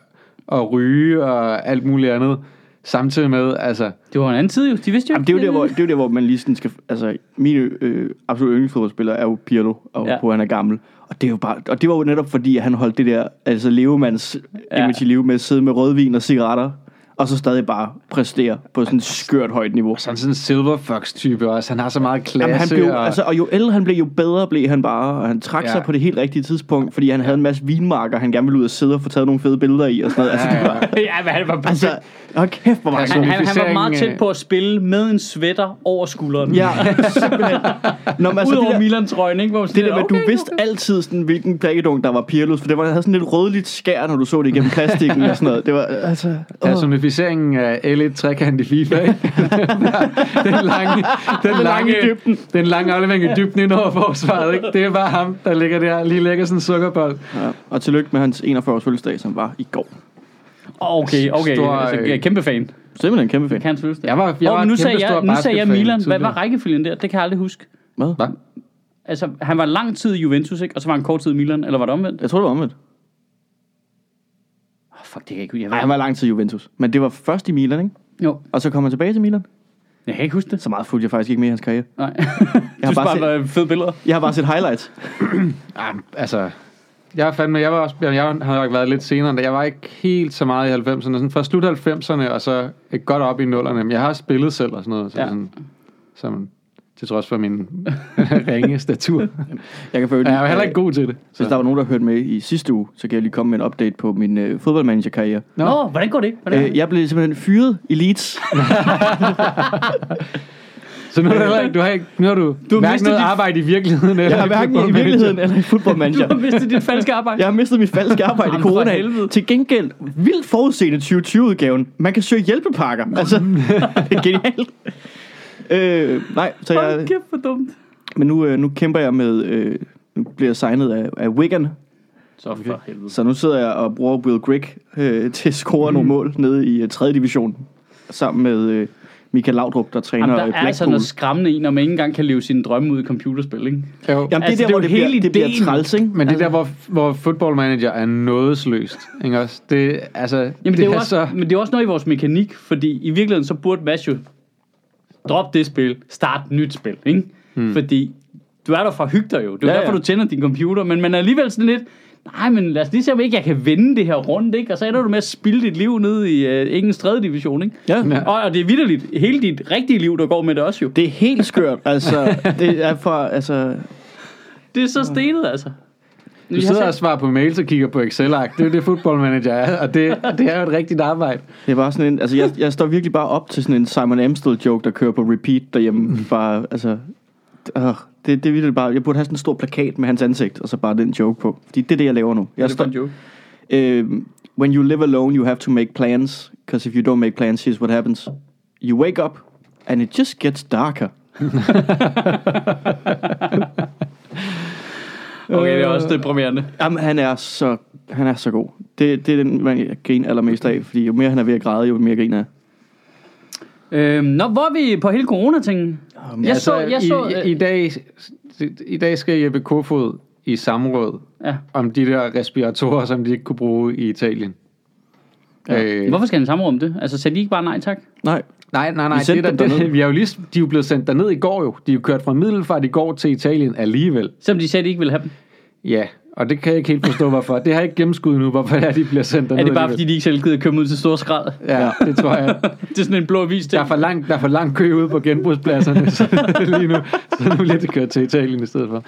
Speaker 2: at ryge og alt muligt andet, samtidig med, altså,
Speaker 1: Det var en anden tid jo, de vidste jo
Speaker 3: Jamen, det er jo der, hvor, det er jo der, hvor man lige sådan skal... Altså, min øh, absolut yndlingsfodboldspiller er jo Pirlo, og
Speaker 1: Ja.
Speaker 3: ja. på, at han er gammel. Og det, er jo bare, og det var jo netop fordi, at han holdt det der altså, levemands ja. image i live med at sidde med rødvin og cigaretter. og så stadig bare præstere på sådan et skørt højt niveau.
Speaker 2: Så han er sådan en silver fox type også. Han har så meget klasse.
Speaker 3: Jamen, han blev,
Speaker 2: og,
Speaker 3: altså, og jo ældre han blev, jo bedre blev han bare, og han trak
Speaker 2: Ja.
Speaker 3: ja. sig på det helt rigtige tidspunkt, fordi han havde en masse vinmarker, han gerne ville ud og sidde og få taget nogle fede billeder i og sådan noget. Altså,
Speaker 2: Ja,
Speaker 3: det
Speaker 2: ja.
Speaker 3: var,
Speaker 1: [LAUGHS] ja, Altså, men han var perfekt.
Speaker 3: altså hold kæft, hvor var
Speaker 2: Ja,
Speaker 3: han
Speaker 1: Han, han,
Speaker 3: god.
Speaker 1: han var meget
Speaker 2: Mobiliseringen,
Speaker 1: tæt på at spille med en sweater over skulderen.
Speaker 3: Ja,
Speaker 1: [LAUGHS]
Speaker 3: simpelthen. Nå, men altså,
Speaker 1: Udover
Speaker 3: det der,
Speaker 1: Milan-trøjen, ikke? Hvor man
Speaker 3: det
Speaker 1: sådan
Speaker 3: der med, at
Speaker 1: lidt,
Speaker 3: du vidste altid, sådan, hvilken drikkedunk, der var Pirlos, for det var, han havde sådan lidt rødligt skær, når du så det igennem plastikken og sådan noget. Det var, altså, åh.
Speaker 2: Personificeringen af L1 trekant i FIFA, ikke? den lange, den lange,
Speaker 1: lange i dybden.
Speaker 2: den lange aflevering i dybden ind over forsvaret, ikke? Det er bare ham, der ligger der, lige lægger sådan en sukkerbold.
Speaker 3: Ja. Og tillykke med hans 41-års fødselsdag, som var i går.
Speaker 1: Okay, okay.
Speaker 2: Stor,
Speaker 1: altså,
Speaker 2: øh,
Speaker 1: jeg er kæmpe fan.
Speaker 3: Simpelthen en kæmpe fan.
Speaker 1: Kan hans fødselsdag.
Speaker 2: Jeg var, jeg
Speaker 1: Åh,
Speaker 2: var
Speaker 1: men nu
Speaker 2: kæmpe
Speaker 1: sagde
Speaker 2: stor
Speaker 1: jeg, nu sagde jeg
Speaker 2: basketfan
Speaker 1: Milan. Hvad
Speaker 2: tidligere.
Speaker 1: var rækkefølgen der? Det kan jeg aldrig huske.
Speaker 3: Hvad?
Speaker 2: Hvad?
Speaker 1: Altså, han var lang tid i Juventus, ikke? Og så var han kort tid i Milan. Eller var det omvendt?
Speaker 3: Jeg tror, det var omvendt.
Speaker 1: Oh, fuck, det kan jeg ikke jeg
Speaker 3: Nej, han var lang tid i Juventus. Men det var først i Milan, ikke?
Speaker 1: Jo,
Speaker 3: Og så kom han tilbage til Milan.
Speaker 1: jeg kan ikke huske det.
Speaker 3: Så meget fulgte jeg faktisk ikke med i hans karriere.
Speaker 1: Nej.
Speaker 3: Jeg
Speaker 1: Jeg [LAUGHS] har
Speaker 3: har
Speaker 1: bare,
Speaker 3: bare
Speaker 1: set... var fede billeder.
Speaker 3: Jeg har bare set highlights.
Speaker 2: Ah, altså, jeg er fandme, jeg var også, jeg, jeg har nok været lidt senere, end det. jeg var ikke helt så meget i 90'erne, sådan fra slut 90'erne, og så et godt op i 0'erne, men jeg har spillet selv og sådan noget, så
Speaker 1: Ja.
Speaker 2: ja. sådan, som, til trods for min [LAUGHS] ringe statur.
Speaker 3: Jeg kan følge
Speaker 2: Jeg var heller
Speaker 1: øh,
Speaker 2: ikke god til det. Så.
Speaker 3: Hvis der var nogen, der hørte med i sidste uge, så kan jeg lige komme med en update på min øh, fodboldmanager-karriere.
Speaker 1: Nå, Nå hvordan går det? Hvordan går
Speaker 3: Øh,
Speaker 1: det?
Speaker 3: jeg blev simpelthen fyret i Leeds.
Speaker 2: Så nu, er du heller ikke, du har ikke, nu har du, du har hverken
Speaker 1: mistet
Speaker 2: noget
Speaker 1: dit-
Speaker 2: arbejde i virkeligheden. Eller
Speaker 3: Jeg har hverken i
Speaker 2: football
Speaker 3: virkeligheden eller i
Speaker 1: Du har
Speaker 3: fodboldmanager.
Speaker 1: mistet dit falske arbejde.
Speaker 3: [LAUGHS] Jeg har mistet mit falske arbejde i
Speaker 1: Jamen, for
Speaker 3: corona.
Speaker 1: helvede.
Speaker 3: Til gengæld, vildt forudseende 2020-udgaven. Man kan søge hjælpepakker.
Speaker 1: Mm.
Speaker 3: Altså, [LAUGHS] det er genialt. Øh, nej, så
Speaker 1: Hold
Speaker 3: jeg,
Speaker 1: kæft, hvor dumt.
Speaker 3: men nu, øh, nu kæmper jeg med... Øh, nu bliver jeg signet af, af Wigan,
Speaker 1: Så for helvede.
Speaker 3: Så nu sidder jeg og bruger Will Grigg øh, til at score mm. nogle mål nede i 3. division. Sammen med øh, Michael Laudrup, der træner
Speaker 1: Jamen,
Speaker 3: Jamen,
Speaker 1: der er
Speaker 3: Blackpool.
Speaker 1: altså noget skræmmende i, når man ikke engang kan leve sine drømme ud i computerspil, ikke?
Speaker 2: manager. Jo.
Speaker 3: Jamen, det er
Speaker 1: altså, det
Speaker 3: altså,
Speaker 1: er
Speaker 3: der, hvor
Speaker 1: jo
Speaker 3: det, det,
Speaker 1: hele
Speaker 3: bliver, det bliver
Speaker 1: ideen.
Speaker 3: træls, ikke?
Speaker 2: Men det
Speaker 1: altså-
Speaker 2: er der, hvor, hvor football manager er nådesløst, ikke også? Det, altså,
Speaker 1: Jamen, det, er jo
Speaker 2: er
Speaker 1: også, men det er jo også noget i vores mekanik, fordi i virkeligheden så burde Mads jo droppe det spil, starte et nyt spil, ikke? Hmm. Fordi du er der for at hygge dig jo. Det er ja,
Speaker 3: Ja,
Speaker 1: derfor,
Speaker 3: ja.
Speaker 1: du tænder din computer, men man er alligevel sådan lidt, nej, men lad os lige se, om ikke jeg kan vende det her rundt, ikke? Og så ender du med at spilde dit liv nede i øh, engelsk 3. division, ikke?
Speaker 3: Ja.
Speaker 2: Ja.
Speaker 1: Og, og det er vidderligt. Hele dit rigtige liv, der går med det også jo.
Speaker 3: Det er helt skørt.
Speaker 1: [LAUGHS]
Speaker 3: Altså, det er for, altså,
Speaker 1: Det er så stenet, altså.
Speaker 2: Du sidder og svarer på mails og kigger på Excel-ark. Det er jo det, football manager er, og det, det er jo et rigtigt arbejde.
Speaker 3: det er bare sådan en, altså jeg, jeg står virkelig bare op til sådan en Simon Amstel joke, der kører på repeat derhjemme. Bare, altså, øh, det, det er virkelig bare, jeg burde have sådan en stor plakat med hans ansigt, og så bare den joke på. Fordi det er det, jeg laver nu. Jeg
Speaker 1: det er bare en joke.
Speaker 3: um, when you live alone, you have to make plans. Because if you don't make plans, here's what happens: you wake up, and it just gets darker.
Speaker 1: Okay, det er også deprimerende.
Speaker 3: Jamen, han er så han er så god. Det, det er den man jeg griner allermest af, fordi jo mere han er ved at græde, jo mere griner jeg.
Speaker 1: Øhm, nå, hvor er vi på hele corona-tingen? Jeg
Speaker 2: altså,
Speaker 1: så, jeg så, øh-
Speaker 2: i, i, dag, I dag skal Jeppe Kofod i samråd
Speaker 1: øh, ja.
Speaker 2: om de der respiratorer, som de ikke kunne bruge i Italien. Ja. Øh,
Speaker 1: Hvorfor skal han samråd om det? Altså, sagde de ikke bare nej tak?
Speaker 3: Nej,
Speaker 2: Nej, nej, nej.
Speaker 3: Vi sendte
Speaker 2: det, der,
Speaker 3: dem
Speaker 2: det,
Speaker 3: derned.
Speaker 2: vi er jo lige, de er jo blevet sendt derned i går jo. De er jo kørt fra Middelfart i går til Italien alligevel.
Speaker 1: Selvom de sagde, de ikke ville have dem.
Speaker 2: Ja, og det kan jeg ikke helt forstå, hvorfor. Det har jeg ikke gennemskuet nu, hvorfor det er, de bliver sendt derned
Speaker 1: Er det bare, fordi
Speaker 2: alligevel.
Speaker 1: de ikke selv gider at købe ud til store skrald? [LAUGHS]
Speaker 2: Ja, det tror jeg.
Speaker 1: Det er sådan en blå avis til.
Speaker 2: Der er for lang, der er for lang kø ude på genbrugspladserne [LAUGHS] så lige nu. Så nu bliver det kørt til Italien i stedet for.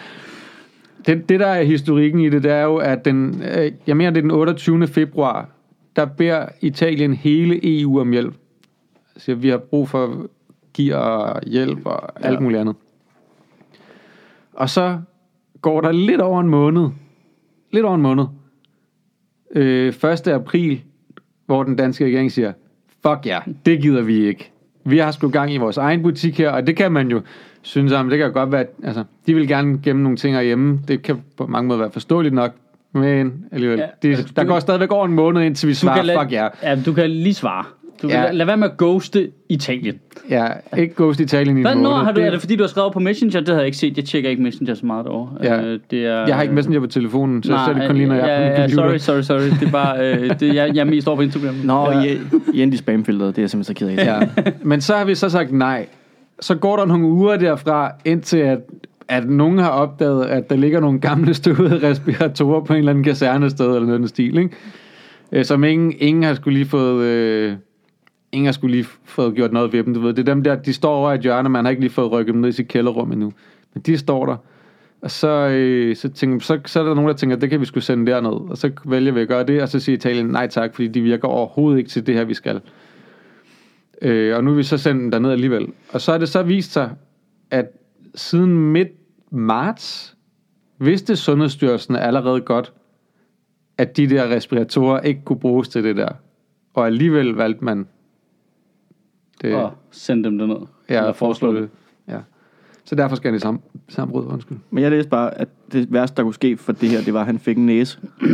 Speaker 2: Det, det der er historikken i det, det er jo, at den, øh, jeg mener, det er den 28. februar, der beder Italien hele EU om hjælp. Altså, vi har brug for gear og hjælp og alt
Speaker 3: Ja.
Speaker 2: muligt andet. Og så går der lidt over en måned, lidt over en måned, øh, 1. april, hvor den danske regering siger, fuck ja, det gider vi ikke. Vi har sgu gang i vores egen butik her, og det kan man jo synes om. Det kan jo godt være, at, altså, de vil gerne gemme nogle ting herhjemme. Det kan på mange måder være forståeligt nok, men alligevel.
Speaker 1: Ja,
Speaker 2: Ja, det,
Speaker 1: altså,
Speaker 2: der
Speaker 1: du-
Speaker 2: går stadigvæk over en måned, indtil vi svarer, ah, fuck ja.
Speaker 1: ja. du kan lige svare. Du kan
Speaker 2: Ja.
Speaker 1: ja. lad være med at ghoste Italien.
Speaker 2: Ja, ikke Ghost Italien i en
Speaker 1: Hvad,
Speaker 2: måned.
Speaker 1: når har du,
Speaker 2: Det-
Speaker 1: er det fordi, du har skrevet på Messenger? Det havde jeg ikke set. Jeg tjekker ikke Messenger så meget derovre.
Speaker 2: Ja.
Speaker 1: Øh, det er,
Speaker 2: Jeg har ikke
Speaker 1: øh,
Speaker 2: Messenger på telefonen, så, så er det kun lige, når jeg
Speaker 1: ja,
Speaker 2: er på min
Speaker 1: ja,
Speaker 2: computer.
Speaker 1: Sorry, sorry, sorry. Det er bare, øh, det, jeg, jeg er mest over på Instagram.
Speaker 3: nå,
Speaker 2: Ja.
Speaker 3: ja. Jens i spamfilteret, det er jeg simpelthen så ked af. [LAUGHS]
Speaker 2: Ja. Men så har vi så sagt nej. Så går der nogle uger derfra, indtil at, at nogen har opdaget, at der ligger nogle gamle støvede respiratorer på en eller anden kaserne sted, eller noget i den stil, ikke? Øh, som ingen, ingen har skulle lige fået øh, Inger skulle lige få gjort noget ved dem, du ved. Det er dem der, de står over i et hjørne, man har ikke lige fået rykket dem ned i sit kælderrum endnu. Men de står der. Og så, øh, så, tænker, så, så er der nogen, der tænker, det kan vi skulle sende derned. Og så vælger vi at gøre det, og så siger Italien nej tak, fordi de virker overhovedet ikke til det her, vi skal. Øh, og nu vil vi så sende dem derned alligevel. Og så er det så vist sig, at siden midt marts vidste Sundhedsstyrelsen allerede godt, at de der respiratorer ikke kunne bruges til det der. Og alligevel valgte man det.
Speaker 1: og sende dem derned.
Speaker 2: ja,
Speaker 1: Eller foreslå
Speaker 2: foreslå
Speaker 1: det.
Speaker 2: det. Ja. Så derfor skal det i sam, samråd, undskyld.
Speaker 3: Men jeg læste bare, at det værste, der kunne ske for det her, det var, at han fik en næse. øh,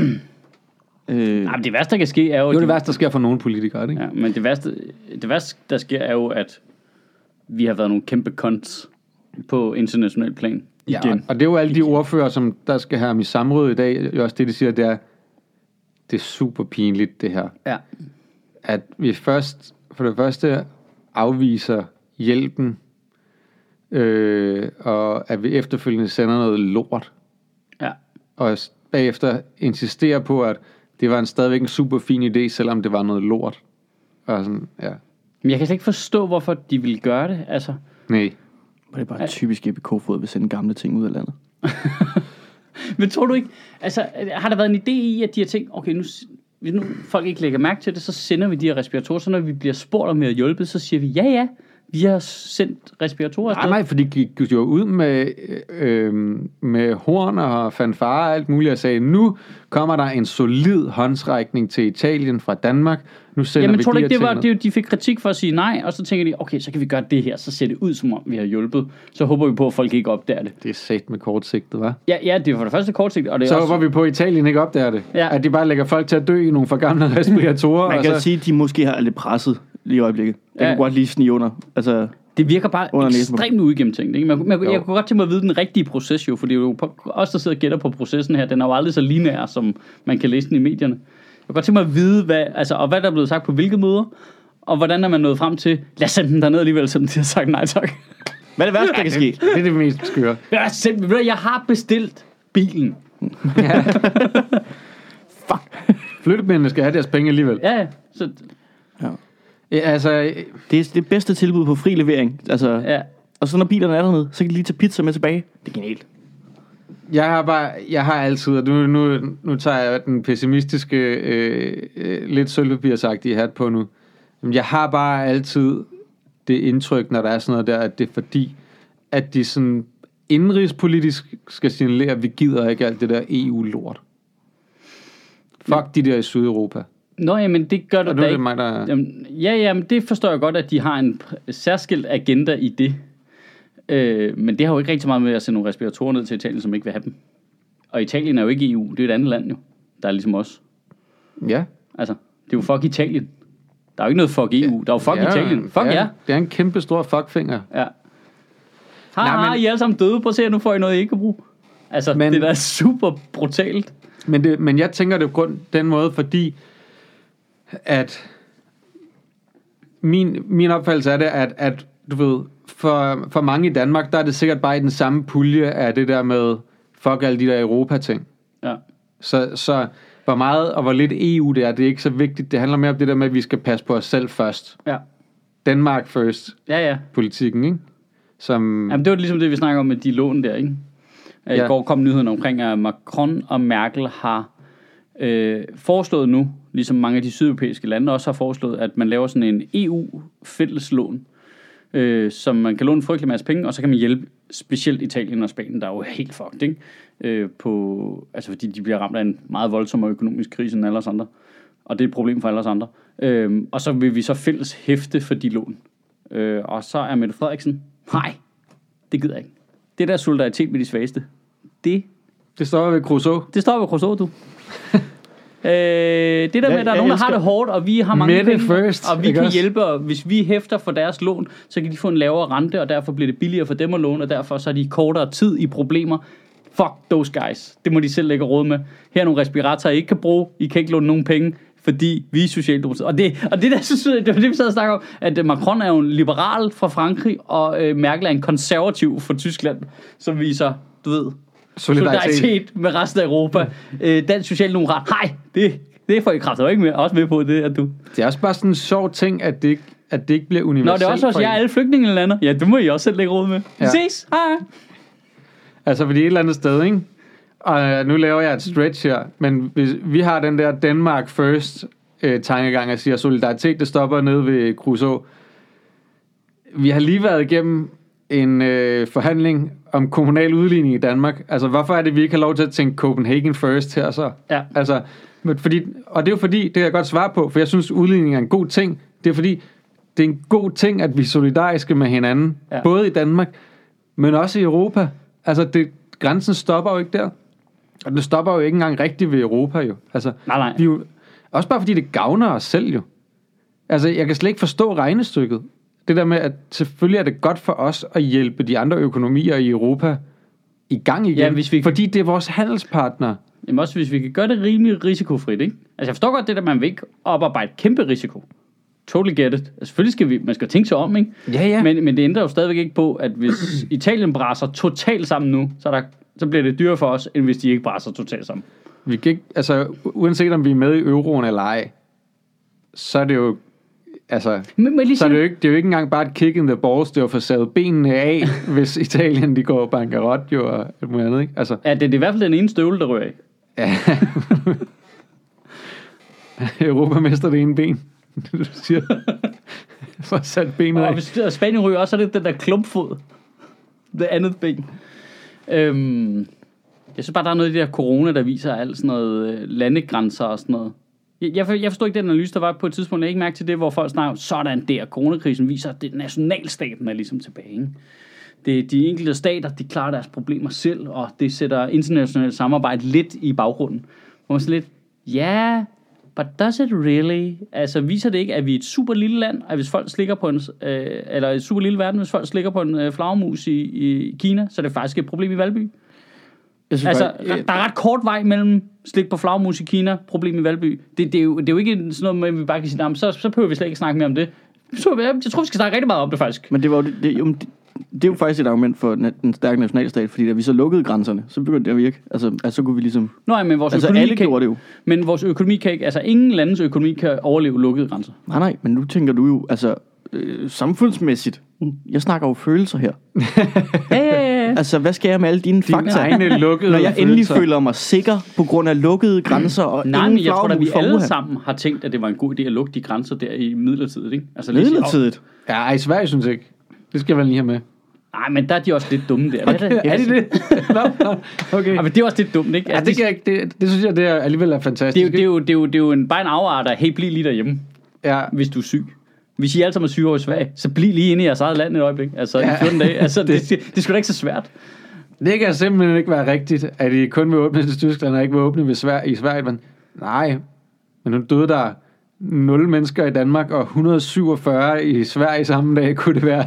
Speaker 1: Jamen, det værste, der kan ske, er jo...
Speaker 2: Det er jo det værste, der sker for nogle politikere, er det ikke?
Speaker 1: Ja, men det værste, det værste, der sker, er jo, at vi har været nogle kæmpe cons på international plan. Igen.
Speaker 2: og- og det er jo alle de ordfører, som der skal have ham i samråd i dag, det er også det, de siger, det er, det er super pinligt, det her.
Speaker 1: ja.
Speaker 2: at vi først, for det første afviser hjælpen, øh, og at vi efterfølgende sender noget lort,
Speaker 1: ja.
Speaker 2: og s- bagefter insisterer på, at det var en stadigvæk en super fin idé, selvom det var noget lort. Og sådan, ja.
Speaker 1: Men jeg kan slet ikke forstå, hvorfor de ville gøre det. Altså,
Speaker 2: Nej.
Speaker 3: var det bare typisk Jeppe Kofod vil sende gamle ting ud af landet?
Speaker 1: men tror du ikke... Altså, har der været en idé i, at de har tænkt, okay, nu, s- hvis nu folk ikke lægger mærke til det, så sender vi de her respiratorer, så når vi bliver spurgt om, vi har hjulpet, så siger vi, ja, ja, vi har sendt respiratorer
Speaker 2: Nej, nej, for de gik gik jo ud med, øh, med horn og fanfare og alt muligt, og sagde, nu kommer der en solid håndsrækning til Italien fra Danmark. Nu sender
Speaker 1: Jamen,
Speaker 2: vi
Speaker 1: tror du
Speaker 2: de
Speaker 1: ikke,
Speaker 2: her
Speaker 1: det var,
Speaker 2: ting ned."
Speaker 1: det, er jo- de fik kritik for at sige nej, og så tænker de, okay, så kan vi gøre det her, så ser det ud, som om vi har hjulpet. Så håber vi på, at folk ikke opdager det.
Speaker 2: det er sat med kortsigtet, hva'?
Speaker 1: Ja, ja det er for det første kortsigtet, og det er
Speaker 2: Så
Speaker 1: også...
Speaker 2: håber vi på, at Italien ikke opdager det.
Speaker 1: Ja.
Speaker 2: Ja. At de bare lægger folk til at dø i nogle forgamle
Speaker 1: [LAUGHS]
Speaker 2: respiratorer.
Speaker 3: Man
Speaker 2: og altså-
Speaker 3: kan
Speaker 2: så,
Speaker 3: sige, at de måske har lidt presset lige i øjeblikket. Det
Speaker 1: Ja.
Speaker 3: ja. kunne godt lige snige under. Altså,
Speaker 1: Det virker bare
Speaker 3: Under næsen.
Speaker 1: ekstremt uigennemtænkt. Ikke? Man, man, jeg
Speaker 2: Jo.
Speaker 1: kunne godt tænke mig at vide den rigtige proces jo, for det er jo på- os, der sidder og gætter på processen her. Den er jo aldrig så linær, som man kan læse den i medierne. Jeg kunne godt tænke mig at vide, hvad, altså, og hvad der er blevet sagt på hvilke møder, og hvordan er man nået frem til, lad os sende den derned alligevel, selvom de har sagt nej tak.
Speaker 3: hvad er det værste, der kan ske?
Speaker 2: Det er det mest skøre.
Speaker 1: Jeg, send, ved du hvad, jeg har bestilt bilen.
Speaker 2: Flyttemændene skal have deres penge alligevel. Ja.
Speaker 1: Ja, ja. så,
Speaker 2: altså, øh,
Speaker 3: Det er det bedste tilbud på fri levering. Altså, ja.
Speaker 1: ja.
Speaker 3: Og så når bilerne er dernede, så kan de lige tage pizza med tilbage. Det er genialt.
Speaker 2: jeg har bare, jeg har altid, og nu, nu, nu tager jeg den pessimistiske, øh, øh, lidt sølvpapirsagtige hat på nu. Men jeg har bare altid det indtryk, når der er sådan noget der, at det er fordi, at de sådan indrigspolitisk skal signalere, at vi gider ikke alt det der EU-lort. Fuck de der i Sydeuropa.
Speaker 1: Nå, jamen det gør du
Speaker 2: Og nu
Speaker 1: da
Speaker 2: er det
Speaker 1: ikke.
Speaker 2: mig, der...
Speaker 1: Jamen, ja, ja, men det forstår jeg godt, at de har en pr- særskilt agenda i det. Øh, men det har jo ikke rigtig så meget med at sende nogle respiratorer ned til Italien, som ikke vil have dem. Og Italien er jo ikke EU, det er et andet land jo. Der er ligesom os.
Speaker 2: Ja.
Speaker 1: Altså, det er jo fuck Italien. Der er jo ikke noget fuck EU, der er jo fuck
Speaker 2: Det er jo
Speaker 1: Italien.
Speaker 2: en-
Speaker 1: Fuck ja.
Speaker 2: det er,
Speaker 1: ja.
Speaker 2: Det er en kæmpe stor fuckfinger.
Speaker 1: ja. Ha,
Speaker 2: Nej,
Speaker 1: Nej, men...
Speaker 2: men-
Speaker 1: I er alle sammen døde, prøv at se, nu får I noget, I ikke kan bruge. Altså, men...
Speaker 2: Men-
Speaker 1: det der er da super brutalt.
Speaker 2: Men, det, men jeg tænker det på grund den måde, fordi at min, min opfattelse er det, at, at du ved, for, for mange i Danmark, der er det sikkert bare i den samme pulje af det der med fuck alle de der Europa-ting.
Speaker 1: Ja.
Speaker 2: Så, så hvor meget og hvor lidt EU det er, det er ikke så vigtigt. Det handler mere om det der med, at vi skal passe på os selv først.
Speaker 1: Ja.
Speaker 2: Danmark first,
Speaker 1: Ja, ja.
Speaker 2: politikken, ikke? Som,
Speaker 1: Jamen, det var ligesom det, vi snakker om med de lån der, ikke? Ja. I
Speaker 2: Øhm, Ja.
Speaker 1: går kom nyheden omkring, at Macron og Merkel har øh, foreslået nu, ligesom mange af de sydeuropæiske lande også har foreslået, at man laver sådan en EU-fælleslån, øh, som man kan låne en frygtelig masse penge, og så kan man hjælpe specielt Italien og Spanien, der er jo helt fucked, ikke? Øh, på, altså fordi de bliver ramt af en meget voldsommere økonomisk krise end alle os andre. Og det er et problem for alle os andre. Øh, og så vil vi så fælles hæfte for de lån. Øh, og så er Mette Frederiksen, nej, det gider jeg ikke. Det der solidaritet med de svageste, det,
Speaker 2: det står ved Crusoe.
Speaker 1: det står ved Rousseau,
Speaker 2: [LAUGHS]
Speaker 1: du. øh, det der med, at der er
Speaker 3: jeg
Speaker 1: nogen, der har
Speaker 3: elsker-
Speaker 1: det hårdt, og vi har mange
Speaker 2: Mette first,
Speaker 1: og vi
Speaker 2: ikke
Speaker 1: kan
Speaker 2: også?
Speaker 1: hjælpe, og hvis vi hæfter for deres lån, så kan de få en lavere rente, og derfor bliver det billigere for dem at låne, og derfor så er de i kortere tid i problemer. Fuck those guys. Det må de selv lægge råd med. Her er nogle respiratorer, I ikke kan bruge. I kan ikke låne nogen penge, fordi vi er socialdemokratiet. Og det, og det der, så synes jeg, det var det, vi sad og snakkede om, at øh, Macron er jo en liberal fra Frankrig, og øh, Merkel er en konservativ fra Tyskland, som viser,
Speaker 2: Mm.
Speaker 1: du ved, solidaritet med resten af Europa. Øh, dansk socialdemokrat, hej, det det får I kraftet ikke med. Også med på det, at du...
Speaker 2: Det er også bare sådan en sjov ting, at det ikke, at det ikke bliver
Speaker 1: Nå,
Speaker 2: universelt.
Speaker 1: det er også også,
Speaker 2: for
Speaker 1: jeg er
Speaker 2: en.
Speaker 1: alle flygtninge lander. Ja, det må I også selv lægge råd med. Ja.
Speaker 2: Ja.
Speaker 1: Ses, hej.
Speaker 2: Altså, fordi et eller andet sted, ikke? Og øh, nu laver jeg et stretch her, men hvis vi har den der Danmark first øh, tankegang, at siger, solidaritet, det stopper nede ved Crusoe. Vi har lige været igennem en øh, forhandling om kommunal udligning i Danmark. Altså, hvorfor er det, vi ikke har lov til at tænke Copenhagen first her så?
Speaker 1: Ja.
Speaker 2: Altså, men fordi, og det er jo fordi, det kan jeg godt svare på, for jeg synes, udligning er en god ting. Det er fordi, det er en god ting, at vi er solidariske med hinanden,
Speaker 1: Ja.
Speaker 2: ja. både i Danmark, men også i Europa. Altså, det, grænsen stopper jo ikke der. Og den stopper jo ikke engang rigtigt ved Europa, jo. Altså,
Speaker 1: Nej, nej.
Speaker 2: Vi er jo, også bare fordi det gavner os selv, jo. Altså, jeg kan slet ikke forstå regnestykket. Det der med, at selvfølgelig er det godt for os at hjælpe de andre økonomier i Europa i gang igen.
Speaker 1: Ja, hvis vi-
Speaker 2: Fordi det er vores handelspartner.
Speaker 1: Jamen også, hvis vi kan gøre det rimelig risikofrit, ikke? Altså, jeg forstår godt det, at man vil ikke oparbejde kæmpe risiko. Totally get it. Altså, selvfølgelig skal vi, man skal tænke sig om, ikke?
Speaker 2: Ja, ja.
Speaker 1: Men, men det ændrer jo stadigvæk ikke på, at
Speaker 2: [CLEARS THROAT]
Speaker 1: hvis Italien braser totalt sammen nu, så, er der, så bliver det dyrere for os, end hvis de ikke braser totalt sammen.
Speaker 2: Vi kan ikke, altså, u- uanset om vi er med i euroen eller ej, så er det jo, altså,
Speaker 1: Men, men lige
Speaker 2: så er det, jo ikke, det er jo ikke engang bare et kick in the balls, det er jo for savet benene af,
Speaker 1: [LAUGHS]
Speaker 2: hvis Italien de går bankerot jo og alt muligt andet, ikke? Altså,
Speaker 1: Ja, det, det er i hvert fald den ene støvle, der rører af.
Speaker 2: ja. [LAUGHS] Europa mister det ene ben, [LAUGHS] det er det, du
Speaker 1: [LAUGHS]
Speaker 2: siger. For at sætte benet
Speaker 1: Og
Speaker 2: af.
Speaker 1: hvis og Spanien ryger også, så er det den der klumpfod. Det andet ben. Øhm, jeg synes bare, der er noget i det der corona, der viser alt sådan noget øh, landegrænser og sådan noget. Jeg, jeg, for- jeg forstod ikke den analyse, der var på et tidspunkt. Jeg ikke mærke til det, hvor folk snakker, sådan der, coronakrisen viser, at det, nationalstaten er ligesom tilbage. Ikke? Det, de enkelte stater, de klarer deres problemer selv, og det sætter internationalt samarbejde lidt i baggrunden. Hvor man sådan lidt, ja, yeah, but does it really? Altså, viser det ikke, at vi er et super lille land, at hvis folk slikker på en, øh, eller et super lille verden, hvis folk slikker på en øh, flagermus i, i Kina, så er det faktisk et problem i Valby?
Speaker 3: Jeg synes
Speaker 1: Altså,
Speaker 3: bare,
Speaker 1: der er ret kort vej mellem slik på flagmus i Kina, problem i Valby. Det, det, er, jo, det er jo ikke sådan noget med, at vi bare kan sige, "Nå, men så, så behøver vi slet ikke snakke mere om det. Så, jeg, jeg tror, vi skal snakke rigtig meget om det, faktisk.
Speaker 3: Men det var jo, det, det, jo, men det, det er jo faktisk et argument for na- den stærke nationalstat, fordi da vi så lukkede grænserne, så begyndte det at virke. Altså, altså så kunne vi ligesom...
Speaker 1: Nå, ja, men vores
Speaker 3: Altså,
Speaker 1: økonomi
Speaker 3: alle
Speaker 1: kan,
Speaker 3: gjorde det jo.
Speaker 1: Men vores økonomi kan ikke, altså ingen landes økonomi kan overleve lukkede grænser.
Speaker 3: Nej, nej, men nu tænker du jo, altså, øh, samfundsmæssigt. Jeg snakker jo følelser her.
Speaker 1: Ja, ja, ja, ja.
Speaker 3: Altså, hvad skal jeg med alle dine
Speaker 2: Dine
Speaker 3: fakta?
Speaker 2: egne lukkede
Speaker 3: [LAUGHS] Når jeg endelig
Speaker 2: følelser.
Speaker 3: føler mig sikker på grund af lukkede grænser
Speaker 1: [LAUGHS]
Speaker 3: og
Speaker 1: Nej,
Speaker 3: ingen
Speaker 1: men jeg tror da,
Speaker 3: flagermus
Speaker 1: vi
Speaker 3: for
Speaker 1: alle
Speaker 3: Wuhan.
Speaker 1: sammen har tænkt, at det var en god idé at lukke de grænser der i midlertidigt, ikke? Altså, lige sige,
Speaker 3: Midlertidigt.
Speaker 2: Ja, ej, Sverige synes ikke. Det skal man lige have med.
Speaker 1: "Åh, Nej, men der er de også lidt dumme der. Hvad er det?
Speaker 2: Er det det? [LAUGHS] Nå, nå, okay.
Speaker 1: Ja, men det er også lidt dumt, ikke?
Speaker 2: Ja,
Speaker 1: Altså,
Speaker 2: det, kan jeg, ikke- det, det synes jeg, det er alligevel er fantastisk.
Speaker 1: det, er jo, det, er jo,
Speaker 2: ikke?
Speaker 1: det, er jo, det er jo en, bare en afart af, hey, bliv lige derhjemme.
Speaker 2: ja.
Speaker 1: hvis du er syg. Hvis I alle sammen er syge over i Sverige, så bliv lige inde i jeres eget land et øjeblik. Altså ja. i 14 dage. Altså, [LAUGHS] det, det, det er sgu da ikke så svært.
Speaker 2: Det kan simpelthen ikke være rigtigt, at I kun vil åbne til Tyskland og ikke vil åbne ved Sverige, i Sverige. Men nej, men nu døde der 0 mennesker i Danmark og 147 i Sverige samme dag. Kunne det være,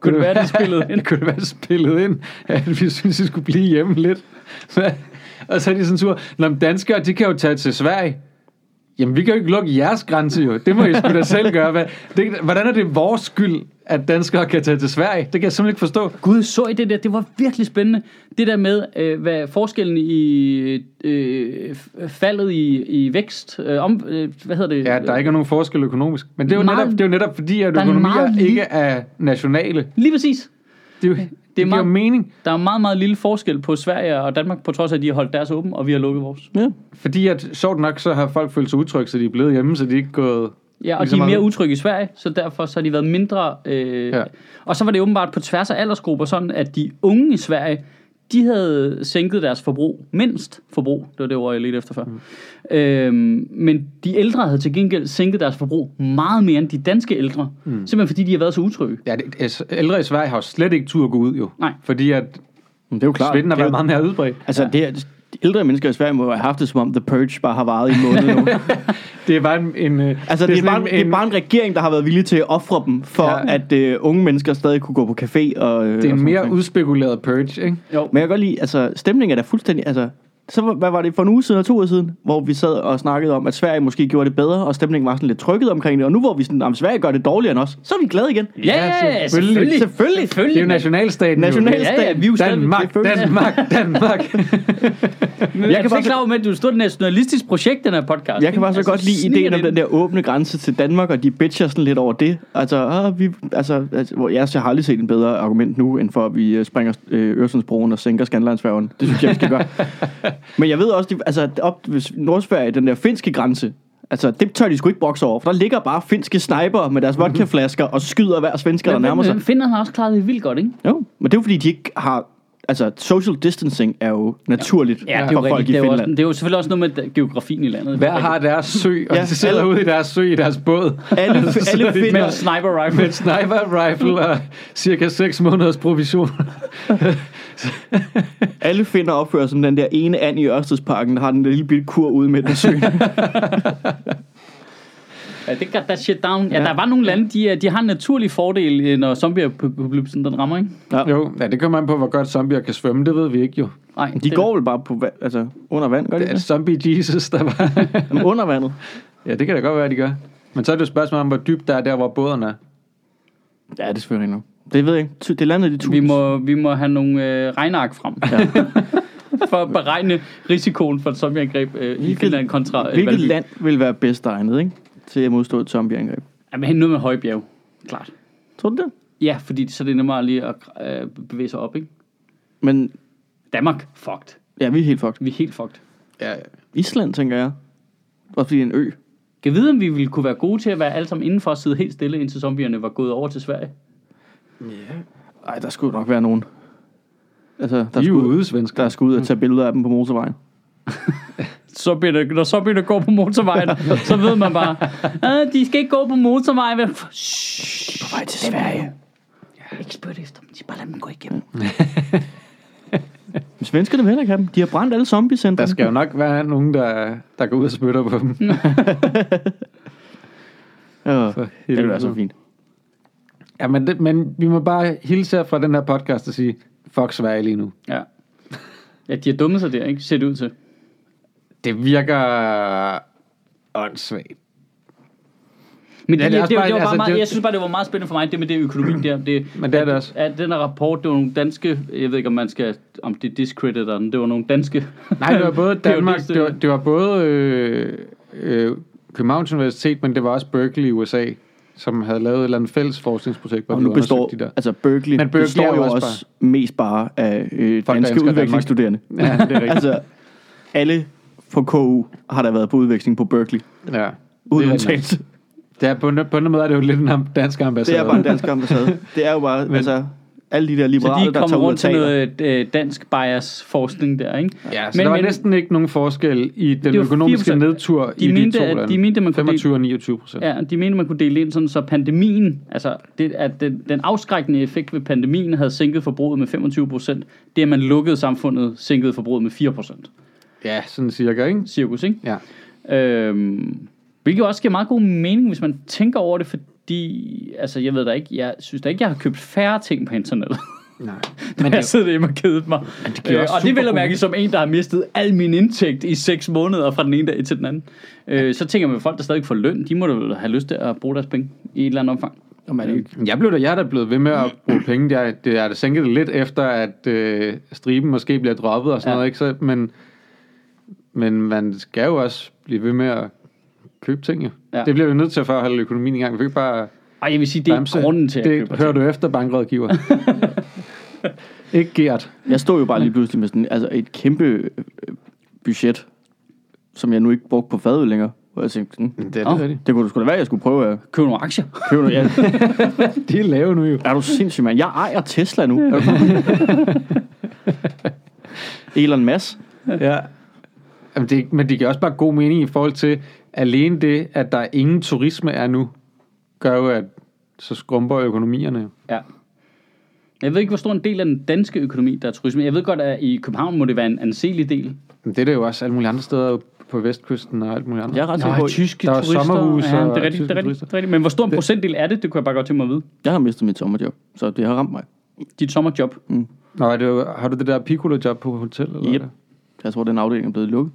Speaker 1: Kunne det være, det spillede ind?
Speaker 2: [LAUGHS] kunne det være spillet ind, at vi synes, vi skulle blive hjemme lidt? Hvad? og så er de sådan sur. Nå, men danskere, de kan jo tage til Sverige. Jamen, vi kan jo ikke lukke jeres grænse jo. Det må I sgu da selv gøre. Hvad, det, hvordan er det vores skyld, at danskere kan tage til Sverige? Det kan jeg simpelthen ikke forstå.
Speaker 1: Gud, så I det der? Det var virkelig spændende. Det der med, øh, hvad forskellen i øh, f- faldet i, i vækst, øh, om, øh, hvad hedder det?
Speaker 2: Ja, der ikke er nogen forskel økonomisk. Men det er jo,
Speaker 1: Meget-
Speaker 2: netop, det er jo netop fordi, at
Speaker 1: Der er en
Speaker 2: økonomier
Speaker 1: meget lille-
Speaker 2: ikke er nationale.
Speaker 1: Lige præcis.
Speaker 2: Det, er jo, det, det giver
Speaker 1: meget-
Speaker 2: jo mening,
Speaker 1: Der er meget, meget lille forskel på Sverige og Danmark, på trods af, at de har holdt deres åben, og vi har lukket vores.
Speaker 3: Ja.
Speaker 2: fordi at sjovt nok, så har folk følt sig utrygge, så de er blevet hjemme, så de er ikke gået...
Speaker 1: Ja, og
Speaker 2: lige
Speaker 1: de er
Speaker 2: så meget
Speaker 1: mere
Speaker 2: ud.
Speaker 1: utrygge i Sverige, så derfor så har de været mindre... Øh, ja.
Speaker 2: Ja.
Speaker 1: Og så var det åbenbart på tværs af aldersgrupper sådan, at de unge i Sverige, de havde sænket deres forbrug, mindst forbrug, det var det ord, jeg lidt efter før. Mm. Øhm, men de ældre havde til gengæld sænket deres forbrug meget mere end de danske ældre, mm. simpelthen fordi de har været så utrygge.
Speaker 2: Ja, det, altså, ældre i Sverige har jo slet ikke tur at gå ud, jo.
Speaker 1: Nej.
Speaker 2: Fordi at
Speaker 3: Men det er jo klart.
Speaker 2: svinden har
Speaker 3: Det er
Speaker 2: været
Speaker 3: jo-
Speaker 2: meget mere udbredt.
Speaker 3: Altså, det er, de ældre mennesker i Sverige må have haft det, som om The Purge bare har varet i en måned nu.
Speaker 2: Det er bare en... en øh,
Speaker 3: Altså, det, er
Speaker 2: sådan
Speaker 3: bare, en, det er bare en regering, der har været villig til at ofre dem, for ja.
Speaker 2: Ja.
Speaker 3: at øh, unge mennesker stadig kunne gå på café. Og,
Speaker 2: det er
Speaker 3: øh, og
Speaker 2: en
Speaker 3: sådan
Speaker 2: mere
Speaker 3: noget.
Speaker 2: udspekuleret purge, ikke?
Speaker 1: Jo.
Speaker 3: Men jeg kan godt lide, altså, stemningen er da fuldstændig... Altså, så var- hvad var det for en uge siden og to uger siden, hvor vi sad og snakkede om, at Sverige måske gjorde det bedre, og stemningen var sådan lidt trykket omkring det. Og nu hvor vi sådan, at Sverige gør det dårligere end os, så er vi glade igen.
Speaker 2: selvfølgelig.
Speaker 3: Selvfølgelig.
Speaker 2: Det er jo nationalstaten.
Speaker 3: Nationalstat.
Speaker 1: Ja, ja, vi er jo
Speaker 2: Jo.
Speaker 1: stadig
Speaker 2: Danmark, Danmark,
Speaker 3: [LAUGHS]
Speaker 2: Danmark.
Speaker 1: Men jeg kan bare
Speaker 3: bare så-
Speaker 1: klar over med, at du er et stort nationalistisk projekt, den her podcast. Altså,
Speaker 3: Jeg kan bare så godt lide ideen om den der åbne grænse til Danmark, og de bitcher sådan lidt over det. Altså, ah, vi, altså, altså hvor jeg, jeg har aldrig set en bedre argument nu, end for at vi øh, springer øh, Øresundsbroen og sænker Skandlandsfærgen. Det synes jeg, vi skal
Speaker 1: [LAUGHS]
Speaker 3: gøre. Men jeg ved også, de, altså, op ved Nordsverige, den der finske grænse, altså, det tør de sgu ikke bokse over, for der ligger bare finske sniper med
Speaker 1: Mhm.
Speaker 3: deres vodkaflasker og skyder hver svensker, der nærmer sig.
Speaker 1: Finderne har også klaret det vildt godt, ikke?
Speaker 3: Jo, men det er jo fordi, de ikke har... Altså, social distancing er jo naturligt ja,
Speaker 1: det
Speaker 3: for folk
Speaker 1: Det
Speaker 3: i
Speaker 1: er, jo også,
Speaker 3: Finland.
Speaker 1: det er jo selvfølgelig også noget med geografien i landet.
Speaker 2: Hver har deres sø, og
Speaker 3: Ja,
Speaker 2: de sidder
Speaker 3: alle-
Speaker 2: ude i deres sø i deres båd.
Speaker 1: [LAUGHS]
Speaker 3: Alle, alle
Speaker 1: med
Speaker 3: finner,
Speaker 1: en sniper
Speaker 2: Med
Speaker 3: [LAUGHS]
Speaker 1: rifle.
Speaker 2: en sniper rifle og cirka 6 måneders provision.
Speaker 3: alle finder opfører som den der ene and i Ørstedsparken, der har den der lille bitte kur ude med den søen.
Speaker 1: Ja, det got that shit down. Ja, der var nogle lande, de, øh, de har en naturlig fordel, øh, når zombie-apokalypsen den rammer, ikke?
Speaker 2: Jo, ja, det kommer an på, hvor godt zombier kan svømme, det ved vi ikke jo.
Speaker 1: Nej,
Speaker 3: De
Speaker 1: det-
Speaker 3: går vel bare på vand, altså under vand, gør de
Speaker 2: Det er
Speaker 3: det?
Speaker 2: zombie Jesus, der var... [LAUGHS]
Speaker 3: Jamen, under vandet.
Speaker 2: ja, det kan da godt være, de gør. Men så er det jo et spørgsmål om, hvor dybt der er der, hvor båden er.
Speaker 3: Ja, det er selvfølgelig nu. Det ved jeg ikke. Tu- Det landede de
Speaker 1: Vi
Speaker 3: tusind.
Speaker 1: må, vi må have nogle øh, regnark
Speaker 3: [LAUGHS]
Speaker 1: frem. Ja. for at beregne risikoen for et zombieangreb øh, i
Speaker 3: Hvilket-
Speaker 1: Finland kontra øh,
Speaker 3: Hvilket
Speaker 1: Valby.
Speaker 3: land vil være bedst egnet, ikke? Til at modstå et zombieangreb.
Speaker 1: Jamen, hen noget med højbjerg. Klart.
Speaker 3: Tror du det?
Speaker 1: Ja, fordi så er det nemmere lige at øh, bevæge sig op, ikke?
Speaker 3: Men
Speaker 1: Danmark, fucked.
Speaker 3: ja, vi er helt fucked.
Speaker 1: Vi er helt fucked.
Speaker 2: Ja,
Speaker 3: Island, tænker jeg. Også fordi det er en ø.
Speaker 1: Kan vide, om vi ville kunne være gode til at være alle sammen indenfor og sidde helt stille, indtil zombierne var gået over til Sverige?
Speaker 3: Nej, der skulle nok være nogen. Altså, der
Speaker 2: de er jo
Speaker 3: skulle,
Speaker 2: ude, svensker.
Speaker 3: der skulle ud og tage billeder af dem på motorvejen.
Speaker 1: Så bliver det, når zombierne går på motorvejen, [LAUGHS] så ved man bare, "Ah, de skal ikke gå på motorvejen. Vel? Shh,
Speaker 3: På vej til Sverige.
Speaker 1: ikke spørg efter dem, de bare lader dem gå igennem.
Speaker 3: Men svenskerne vil heller ikke have dem. De har brændt alle
Speaker 2: Der
Speaker 3: zombiecentrene.
Speaker 2: skal jo nok være nogen, der, der går ud og spytter på dem.
Speaker 3: Ja,
Speaker 2: For
Speaker 3: det ville
Speaker 2: helvede.
Speaker 3: være så fint.
Speaker 2: Ja, men, det, men vi må bare hilse her fra den her podcast og sige, fuck Sverige lige nu.
Speaker 1: Ja. Ja, de har dummet sig der, ikke? Ser det ud til.
Speaker 2: Det virker åndssvagt.
Speaker 1: Men
Speaker 2: Ja,
Speaker 1: det,
Speaker 2: det er
Speaker 1: det,
Speaker 2: også
Speaker 1: det, det, var
Speaker 2: bare-
Speaker 1: bare
Speaker 2: altså,
Speaker 1: meget,
Speaker 2: det-
Speaker 1: jeg synes bare, det var meget spændende for mig, det med det økonomi der. Det,
Speaker 2: Men det er det også.
Speaker 1: At, at den her rapport, det var nogle danske, jeg ved ikke, om man skal, om det discrediter den, det var nogle danske.
Speaker 2: Nej, det var
Speaker 1: [LAUGHS]
Speaker 2: både Danmark,
Speaker 1: PhDs,
Speaker 2: det var, det var både øh, øh, Københavns Universitet, men det var også Berkeley i USA, som havde lavet et eller andet fælles forskningsprojekt, hvor
Speaker 3: Og
Speaker 2: de
Speaker 3: nu
Speaker 2: undersøgte
Speaker 3: består,
Speaker 2: de der.
Speaker 3: altså Berkeley,
Speaker 2: Men Berkeley er
Speaker 3: består
Speaker 2: jo
Speaker 3: jo
Speaker 2: også
Speaker 3: også, mest bare af øh,
Speaker 2: der elsker
Speaker 3: danske
Speaker 2: Danmark.
Speaker 3: udvekslingsstuderende.
Speaker 2: Ja, det er rigtigt.
Speaker 3: [LAUGHS] altså, alle på KU har der været på udveksling på Berkeley,
Speaker 2: ja,
Speaker 3: Altså, uden
Speaker 2: det, er, rigtigt.
Speaker 3: undtagelse.
Speaker 2: det er på, en- på en måde er det jo lidt en am- dansk ambassade.
Speaker 3: Det er bare en dansk ambassade. Det er jo bare, Men, altså, alle de der
Speaker 1: Så
Speaker 3: liberale,
Speaker 1: de
Speaker 3: der
Speaker 1: kom
Speaker 3: tager ud
Speaker 1: rundt
Speaker 3: og
Speaker 1: til
Speaker 3: taler.
Speaker 1: noget øh, dansk bias forskning der, ikke?
Speaker 2: Ja, så men, der var men, næsten ikke nogen forskel i den
Speaker 1: Det var
Speaker 2: økonomiske
Speaker 1: 4%.
Speaker 2: nedtur
Speaker 1: De
Speaker 2: i
Speaker 1: mente,
Speaker 2: de to
Speaker 1: at-
Speaker 2: lande.
Speaker 1: de mente, man kunne
Speaker 2: 25 og 29 procent.
Speaker 1: Ja, de mener, man kunne dele ind sådan, så pandemien, altså det, at den, den afskrækkende effekt ved pandemien havde sænket forbruget med 25 procent. Det, at man lukkede samfundet, sænkede forbruget med 4 procent.
Speaker 2: Ja, sådan cirka, ikke?
Speaker 1: Cirkus, ikke?
Speaker 2: Ja.
Speaker 1: Øhm, hvilket også giver meget god mening, hvis man tænker over det, fordi, altså jeg ved da ikke, jeg synes da ikke, jeg har købt færre ting på internettet. [LAUGHS]
Speaker 2: Nej.
Speaker 1: Men jeg sidder hjemme og keder mig.
Speaker 2: giver
Speaker 1: øh,
Speaker 2: også
Speaker 1: og det vil
Speaker 2: supergod
Speaker 1: jeg mærke som en, der har mistet al min indtægt i 6 måneder fra den ene dag til den anden. Øh, så tænker man, at folk, der stadig får løn, de må da vel have lyst til at bruge deres penge i et eller andet omfang.
Speaker 3: Jamen,
Speaker 2: Jeg blev da, jeg er da blevet ved med at bruge penge. Jeg, det, jeg er da sænket det lidt efter, at øh, striben måske bliver droppet og sådan
Speaker 1: Ja.
Speaker 2: ja. noget. Ikke? Så, men, men man skal jo også blive ved med at købe ting. Jo.
Speaker 1: Ja.
Speaker 2: Ja. Det bliver vi nødt til for at holde økonomien i gang. Vi kan ikke bare
Speaker 1: Og jeg vil sige, det er
Speaker 2: bremse.
Speaker 1: grunden til, at jeg
Speaker 2: det
Speaker 1: køber
Speaker 2: hører
Speaker 1: ting.
Speaker 2: du efter,
Speaker 1: [LAUGHS]
Speaker 2: bankrådgiver. ikke Gert.
Speaker 3: Jeg stod jo bare lige pludselig med sådan, altså et kæmpe øh, budget, som jeg nu ikke brugte på fadøl længere. Hvor jeg tænkte, sådan, "Hmm,
Speaker 2: Det er
Speaker 1: Nå.
Speaker 2: det, rigtigt.
Speaker 3: det kunne du sgu da være, jeg skulle prøve at
Speaker 1: Køb nogle aktier.
Speaker 3: købe noget. Jeg,
Speaker 2: De er lave nu jo.
Speaker 3: er du sindssyg, mand? Jeg ejer Tesla nu. Er du Elon Musk.
Speaker 2: Ja. Jamen det, men det giver også bare god mening i forhold til, alene det, at der ingen turisme er nu, gør jo, at så skrumper økonomierne jo.
Speaker 1: Ja. Jeg ved ikke, hvor stor en del af den danske økonomi, der er turisme. Jeg ved godt, at i København må det være en anselig del.
Speaker 2: Men det er det jo også alle mulige andre steder på vestkysten og alt muligt andet.
Speaker 3: Jeg er ret sikker på,
Speaker 1: tyske
Speaker 2: der er sommerhus
Speaker 1: Ja, det
Speaker 2: og
Speaker 1: er rigtigt, det
Speaker 2: tyske
Speaker 1: er rigtigt,
Speaker 2: turister.
Speaker 1: det er rigtigt. Men hvor stor en procentdel er det, det kunne jeg bare godt tænke mig at vide.
Speaker 3: jeg har mistet mit sommerjob, så det har ramt mig.
Speaker 1: Dit sommerjob.
Speaker 2: Nå, er det, jo- har du det der piccolo-job på hotel? Eller
Speaker 3: Yep.
Speaker 2: hvad?
Speaker 3: Jeg tror, den afdeling er blevet lukket.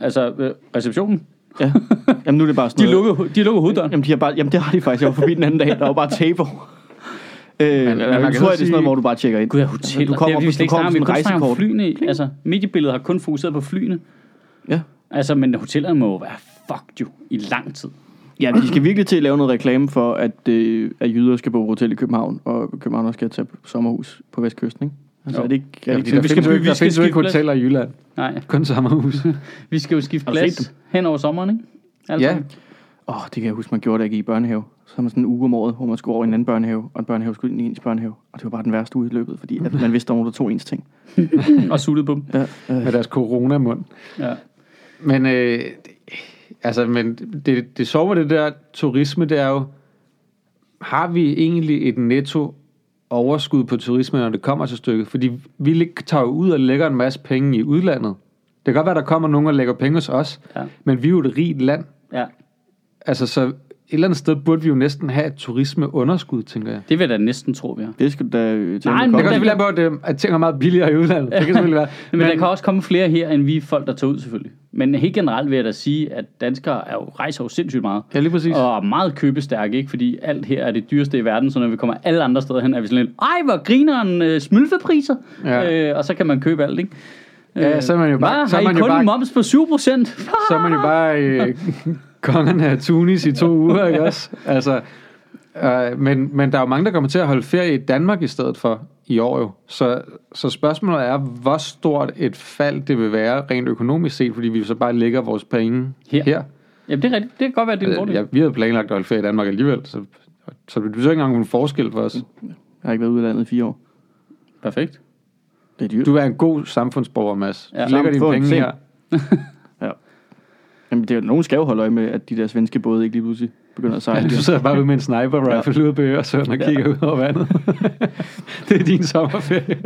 Speaker 1: Altså, øh, receptionen.
Speaker 3: Ja. Jamen, nu er det bare sådan
Speaker 1: De
Speaker 3: noget.
Speaker 1: lukkede, ho- de lukkede hoveddøren.
Speaker 3: Jamen, de har bare, jamen, det har de faktisk. Jeg var forbi den anden dag, der var bare tape over. Øh, men, men,
Speaker 2: man kan
Speaker 3: jeg tror, at det
Speaker 2: så
Speaker 3: er sådan
Speaker 2: sige-
Speaker 3: noget, hvor du bare tjekker ind. Altså,
Speaker 1: Gud, jeg hotel.
Speaker 3: du kommer,
Speaker 1: det, er, vi
Speaker 3: du
Speaker 1: slet ikke
Speaker 3: kommer
Speaker 1: snakker
Speaker 3: på
Speaker 1: om, vi
Speaker 3: sådan
Speaker 1: kun
Speaker 3: en
Speaker 1: snakker om
Speaker 3: rejsekort.
Speaker 1: flyene. Altså, mediebilledet har kun fokuseret på flyene.
Speaker 3: Ja.
Speaker 1: Altså, men hotellerne må jo være fucked jo i lang tid.
Speaker 3: ja, de skal virkelig til at lave noget reklame for, at, øh, at jyder skal bo på hotel i København, og københavnere skal tage på sommerhus på Vestkysten, ikke? Altså,
Speaker 1: Jo.
Speaker 3: er det ikke... Er
Speaker 2: Ja,
Speaker 3: det
Speaker 2: fordi der
Speaker 3: ikke sådan?
Speaker 1: vi skal
Speaker 2: findes jo
Speaker 1: bygge-
Speaker 2: ikke,
Speaker 1: vi
Speaker 2: der
Speaker 1: skal
Speaker 2: findes jo ikke
Speaker 1: skifte plads.
Speaker 2: hoteller i Jylland.
Speaker 1: Nej,
Speaker 2: Kun sommerhus.
Speaker 1: vi skal jo skifte
Speaker 3: Har du set
Speaker 1: plads hen over sommeren, ikke? Altså,
Speaker 2: ja,
Speaker 3: Åh, oh, det kan jeg huske, man gjorde, da jeg gik i børnehave. Så havde man sådan en uge om året, hvor man skulle over i en anden børnehave, og en børnehave skulle ind i ens børnehave. Og det var bare den værste uge i løbet, fordi at man vidste, der var nogen, der tog ens ting.
Speaker 1: Og suttet på dem.
Speaker 3: Ja, øh,
Speaker 2: med deres coronamund.
Speaker 1: Ja.
Speaker 2: Men, øh, altså, men det, det sjove ved det der turisme, det er jo, har vi egentlig et netto overskud på turisme, når det kommer til stykket? Fordi vi lig- tager jo ud og lægger en masse penge i udlandet. Det kan godt være, der kommer nogen og lægger penge hos os,
Speaker 1: Ja.
Speaker 2: men vi er jo et rigt land.
Speaker 1: ja.
Speaker 2: Altså, så et eller andet sted burde vi jo næsten have et turismeunderskud, tænker jeg.
Speaker 1: Det vil jeg da næsten tro, vi har.
Speaker 3: det skal du da... øh, til,
Speaker 1: Nej,
Speaker 3: når du
Speaker 1: men
Speaker 2: Det
Speaker 3: kommer.
Speaker 2: kan også være, på, at, øh, at ting er meget billigere i udlandet. Det kan selvfølgelig være.
Speaker 1: [LAUGHS] Men, men der kan også komme flere her, end vi folk, der tager ud selvfølgelig. Men helt generelt vil jeg da sige, at danskere er jo, rejser jo sindssygt meget.
Speaker 2: Ja, lige præcis.
Speaker 1: Og er meget købestærke, ikke? fordi alt her er det dyreste i verden, så når vi kommer alle andre steder hen, er vi sådan lidt, ej, hvor grineren øh, smølfepriser,
Speaker 2: Ja.
Speaker 1: øh, og så kan man købe alt, ikke?
Speaker 2: Ja,
Speaker 1: Øh,
Speaker 2: så er man jo bare-
Speaker 1: Hvad,
Speaker 2: så er
Speaker 1: har I
Speaker 2: man jo
Speaker 1: kun
Speaker 2: bare-
Speaker 1: en moms på 7%?
Speaker 2: så er man jo bare
Speaker 1: [LAUGHS]
Speaker 2: øh, kongen af Tunis i to uger, ikke også? Altså, øh, men, men der er jo mange, der kommer til at holde ferie i Danmark i stedet for i år jo. Så, så spørgsmålet er, hvor stort et fald det vil være rent økonomisk set, fordi vi så bare lægger vores penge
Speaker 1: Her.
Speaker 2: her. her.
Speaker 1: Jamen, det er rigtigt. Det kan godt være, det er en
Speaker 2: Øh,
Speaker 1: fordel.
Speaker 2: Ja, vi havde planlagt at holde ferie i Danmark alligevel, så, så det betyder ikke engang nogen forskel for os.
Speaker 3: Jeg har ikke været ude af landet i fire år.
Speaker 1: Perfekt.
Speaker 3: Det er dyrt.
Speaker 2: Du er en god samfundsborger, Mads. Du
Speaker 1: Ja.
Speaker 2: lægger dine
Speaker 3: Samfund,
Speaker 2: penge
Speaker 3: se.
Speaker 2: her.
Speaker 3: Jamen, det er jo, nogen skal jo holde øje med, at de der svenske både ikke lige pludselig begynder at
Speaker 2: Ja,
Speaker 3: sejle.
Speaker 2: du sidder bare ude med en sniper rifle ude på Øresund og kigger ud over vandet. [LAUGHS] det er din sommerferie.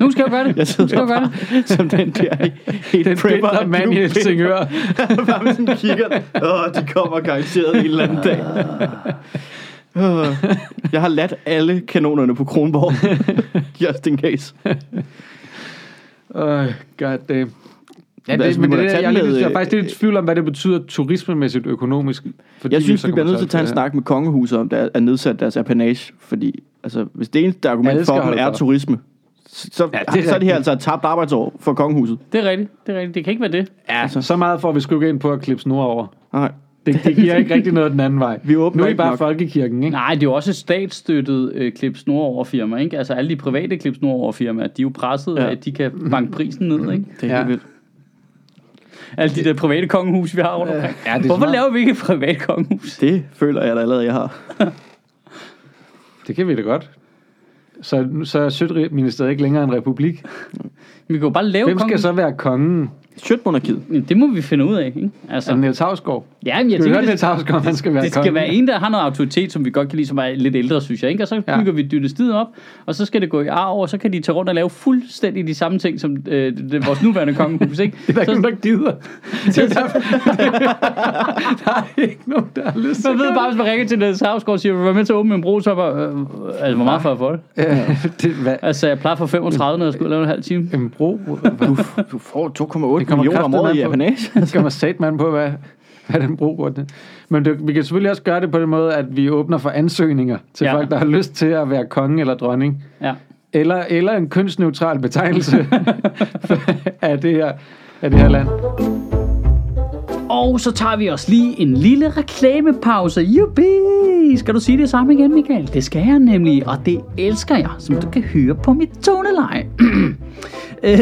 Speaker 1: Nu skal jeg gøre
Speaker 2: [LAUGHS]
Speaker 1: det.
Speaker 3: Jeg sidder
Speaker 1: nu skal jeg gøre
Speaker 3: bare
Speaker 1: det.
Speaker 3: som den der helt
Speaker 2: Den bitre mand [LAUGHS] i Helsingør.
Speaker 3: bare med sådan en kigger. Åh, de kommer garanteret en eller anden dag. Åh. Jeg har ladt alle kanonerne på Kronborg. Just in case.
Speaker 2: Åh, god damn. Ja, det,
Speaker 3: altså,
Speaker 2: altså,
Speaker 3: vi
Speaker 2: men
Speaker 3: må
Speaker 2: det,
Speaker 3: da
Speaker 2: er-
Speaker 3: tage
Speaker 2: jeg, er
Speaker 3: den
Speaker 2: lidt,
Speaker 3: med,
Speaker 2: jeg er faktisk lidt i tvivl om, hvad det betyder turismemæssigt økonomisk. Fordi
Speaker 3: Jeg synes,
Speaker 2: så
Speaker 3: vi bliver
Speaker 2: kommer
Speaker 3: nødt til at tage en
Speaker 2: holde
Speaker 3: snak med kongehuset om, der er nedsat deres apanage. Fordi altså, hvis det eneste
Speaker 2: Alle
Speaker 3: argument
Speaker 2: skal
Speaker 3: for dem
Speaker 2: holde
Speaker 3: er
Speaker 2: for.
Speaker 3: turisme, så,
Speaker 2: Ja, det er
Speaker 3: ja, det så er det
Speaker 2: rigtigt.
Speaker 3: her altså et tabt arbejdsår for kongehuset. Altså,
Speaker 1: Det er rigtigt. Det er rigtigt. Det kan ikke være det.
Speaker 2: ferie. Ja, så meget får vi sgu ikke ind på at klippe snor over.
Speaker 3: Nej.
Speaker 2: Det, det giver ikke rigtig noget den anden vej.
Speaker 3: Vi åbner
Speaker 2: nu er I
Speaker 3: ikke
Speaker 2: bare
Speaker 3: nok.
Speaker 2: folkekirken, ikke?
Speaker 1: Nej, det er jo også et statsstøttet øh, klip snor over firma, ikke? Altså alle de private klip snor over firmaer, de er jo presset,
Speaker 3: Ja.
Speaker 1: ja. at de kan banke prisen
Speaker 2: Mhm.
Speaker 1: ned, ikke?
Speaker 3: Det er
Speaker 2: Ja.
Speaker 3: ja. vildt.
Speaker 1: Alle de der private kongehus, vi har rundt omkring.
Speaker 2: Ja, det, er
Speaker 1: Hvorfor
Speaker 2: smart.
Speaker 1: laver vi ikke et privat kongehus?
Speaker 3: Det føler jeg da allerede, jeg har.
Speaker 2: det kan vi da godt. Så, så er Sødministeriet ikke længere en republik.
Speaker 1: Vi kan jo bare lave
Speaker 2: Hvem skal
Speaker 1: kongehus.
Speaker 2: så være kongen?
Speaker 3: Sjøtmonarkiet.
Speaker 1: Men Det må vi finde ud af, ikke? Altså,
Speaker 2: Er det Niels Havsgaard?
Speaker 1: ja, men jeg
Speaker 2: Skal vi
Speaker 1: tænker,
Speaker 2: høre
Speaker 1: det,
Speaker 2: Niels Havsgaard, om han skal være
Speaker 1: det skal
Speaker 2: kongen?
Speaker 1: være en, der har noget autoritet, som vi godt kan lide, som er lidt ældre, synes jeg, ikke? Og så
Speaker 2: Ja.
Speaker 1: bygger vi dynastiet op, og så skal det gå i arv, og så kan de tage rundt og lave fuldstændig de samme ting, som øh, det, vores nuværende kongehus, ikke?
Speaker 2: [LAUGHS] Det er der
Speaker 1: så,
Speaker 2: ikke nogen, der gider. Det er derfor, [LAUGHS] der er ikke nogen, der har lyst til
Speaker 1: Man ved bare, hvis man ringer til Niels Havsgaard og siger, vil du være med til at åbne en bro, så er jeg bare, øh, altså, hvor meget får jeg for det?
Speaker 2: Øh, [LAUGHS] det, hvad?
Speaker 1: Altså, jeg plejer for 35, når jeg skulle lave en halv time.
Speaker 2: En bro?
Speaker 3: Du, du får 2,8
Speaker 2: Det kommer
Speaker 3: millioner om
Speaker 2: kraftedeme
Speaker 3: året i
Speaker 2: an på.
Speaker 3: apanage.
Speaker 2: [LAUGHS] Der skal man sætte mand på, hvad, hvad den bro går til. Men det, vi kan selvfølgelig også gøre det på den måde, at vi åbner for ansøgninger til
Speaker 1: Ja.
Speaker 2: ja. folk, der har lyst til at være konge eller dronning.
Speaker 1: Ja.
Speaker 2: Eller, eller en kønsneutral betegnelse [LAUGHS] af, det her, af det her land.
Speaker 1: Og så tager vi også lige en lille reklamepause. Yuppie! Skal du sige det samme igen, Michael? Det skal jeg nemlig, og det elsker jeg, som du kan høre på mit toneleje. [CLEARS THROAT] Øh,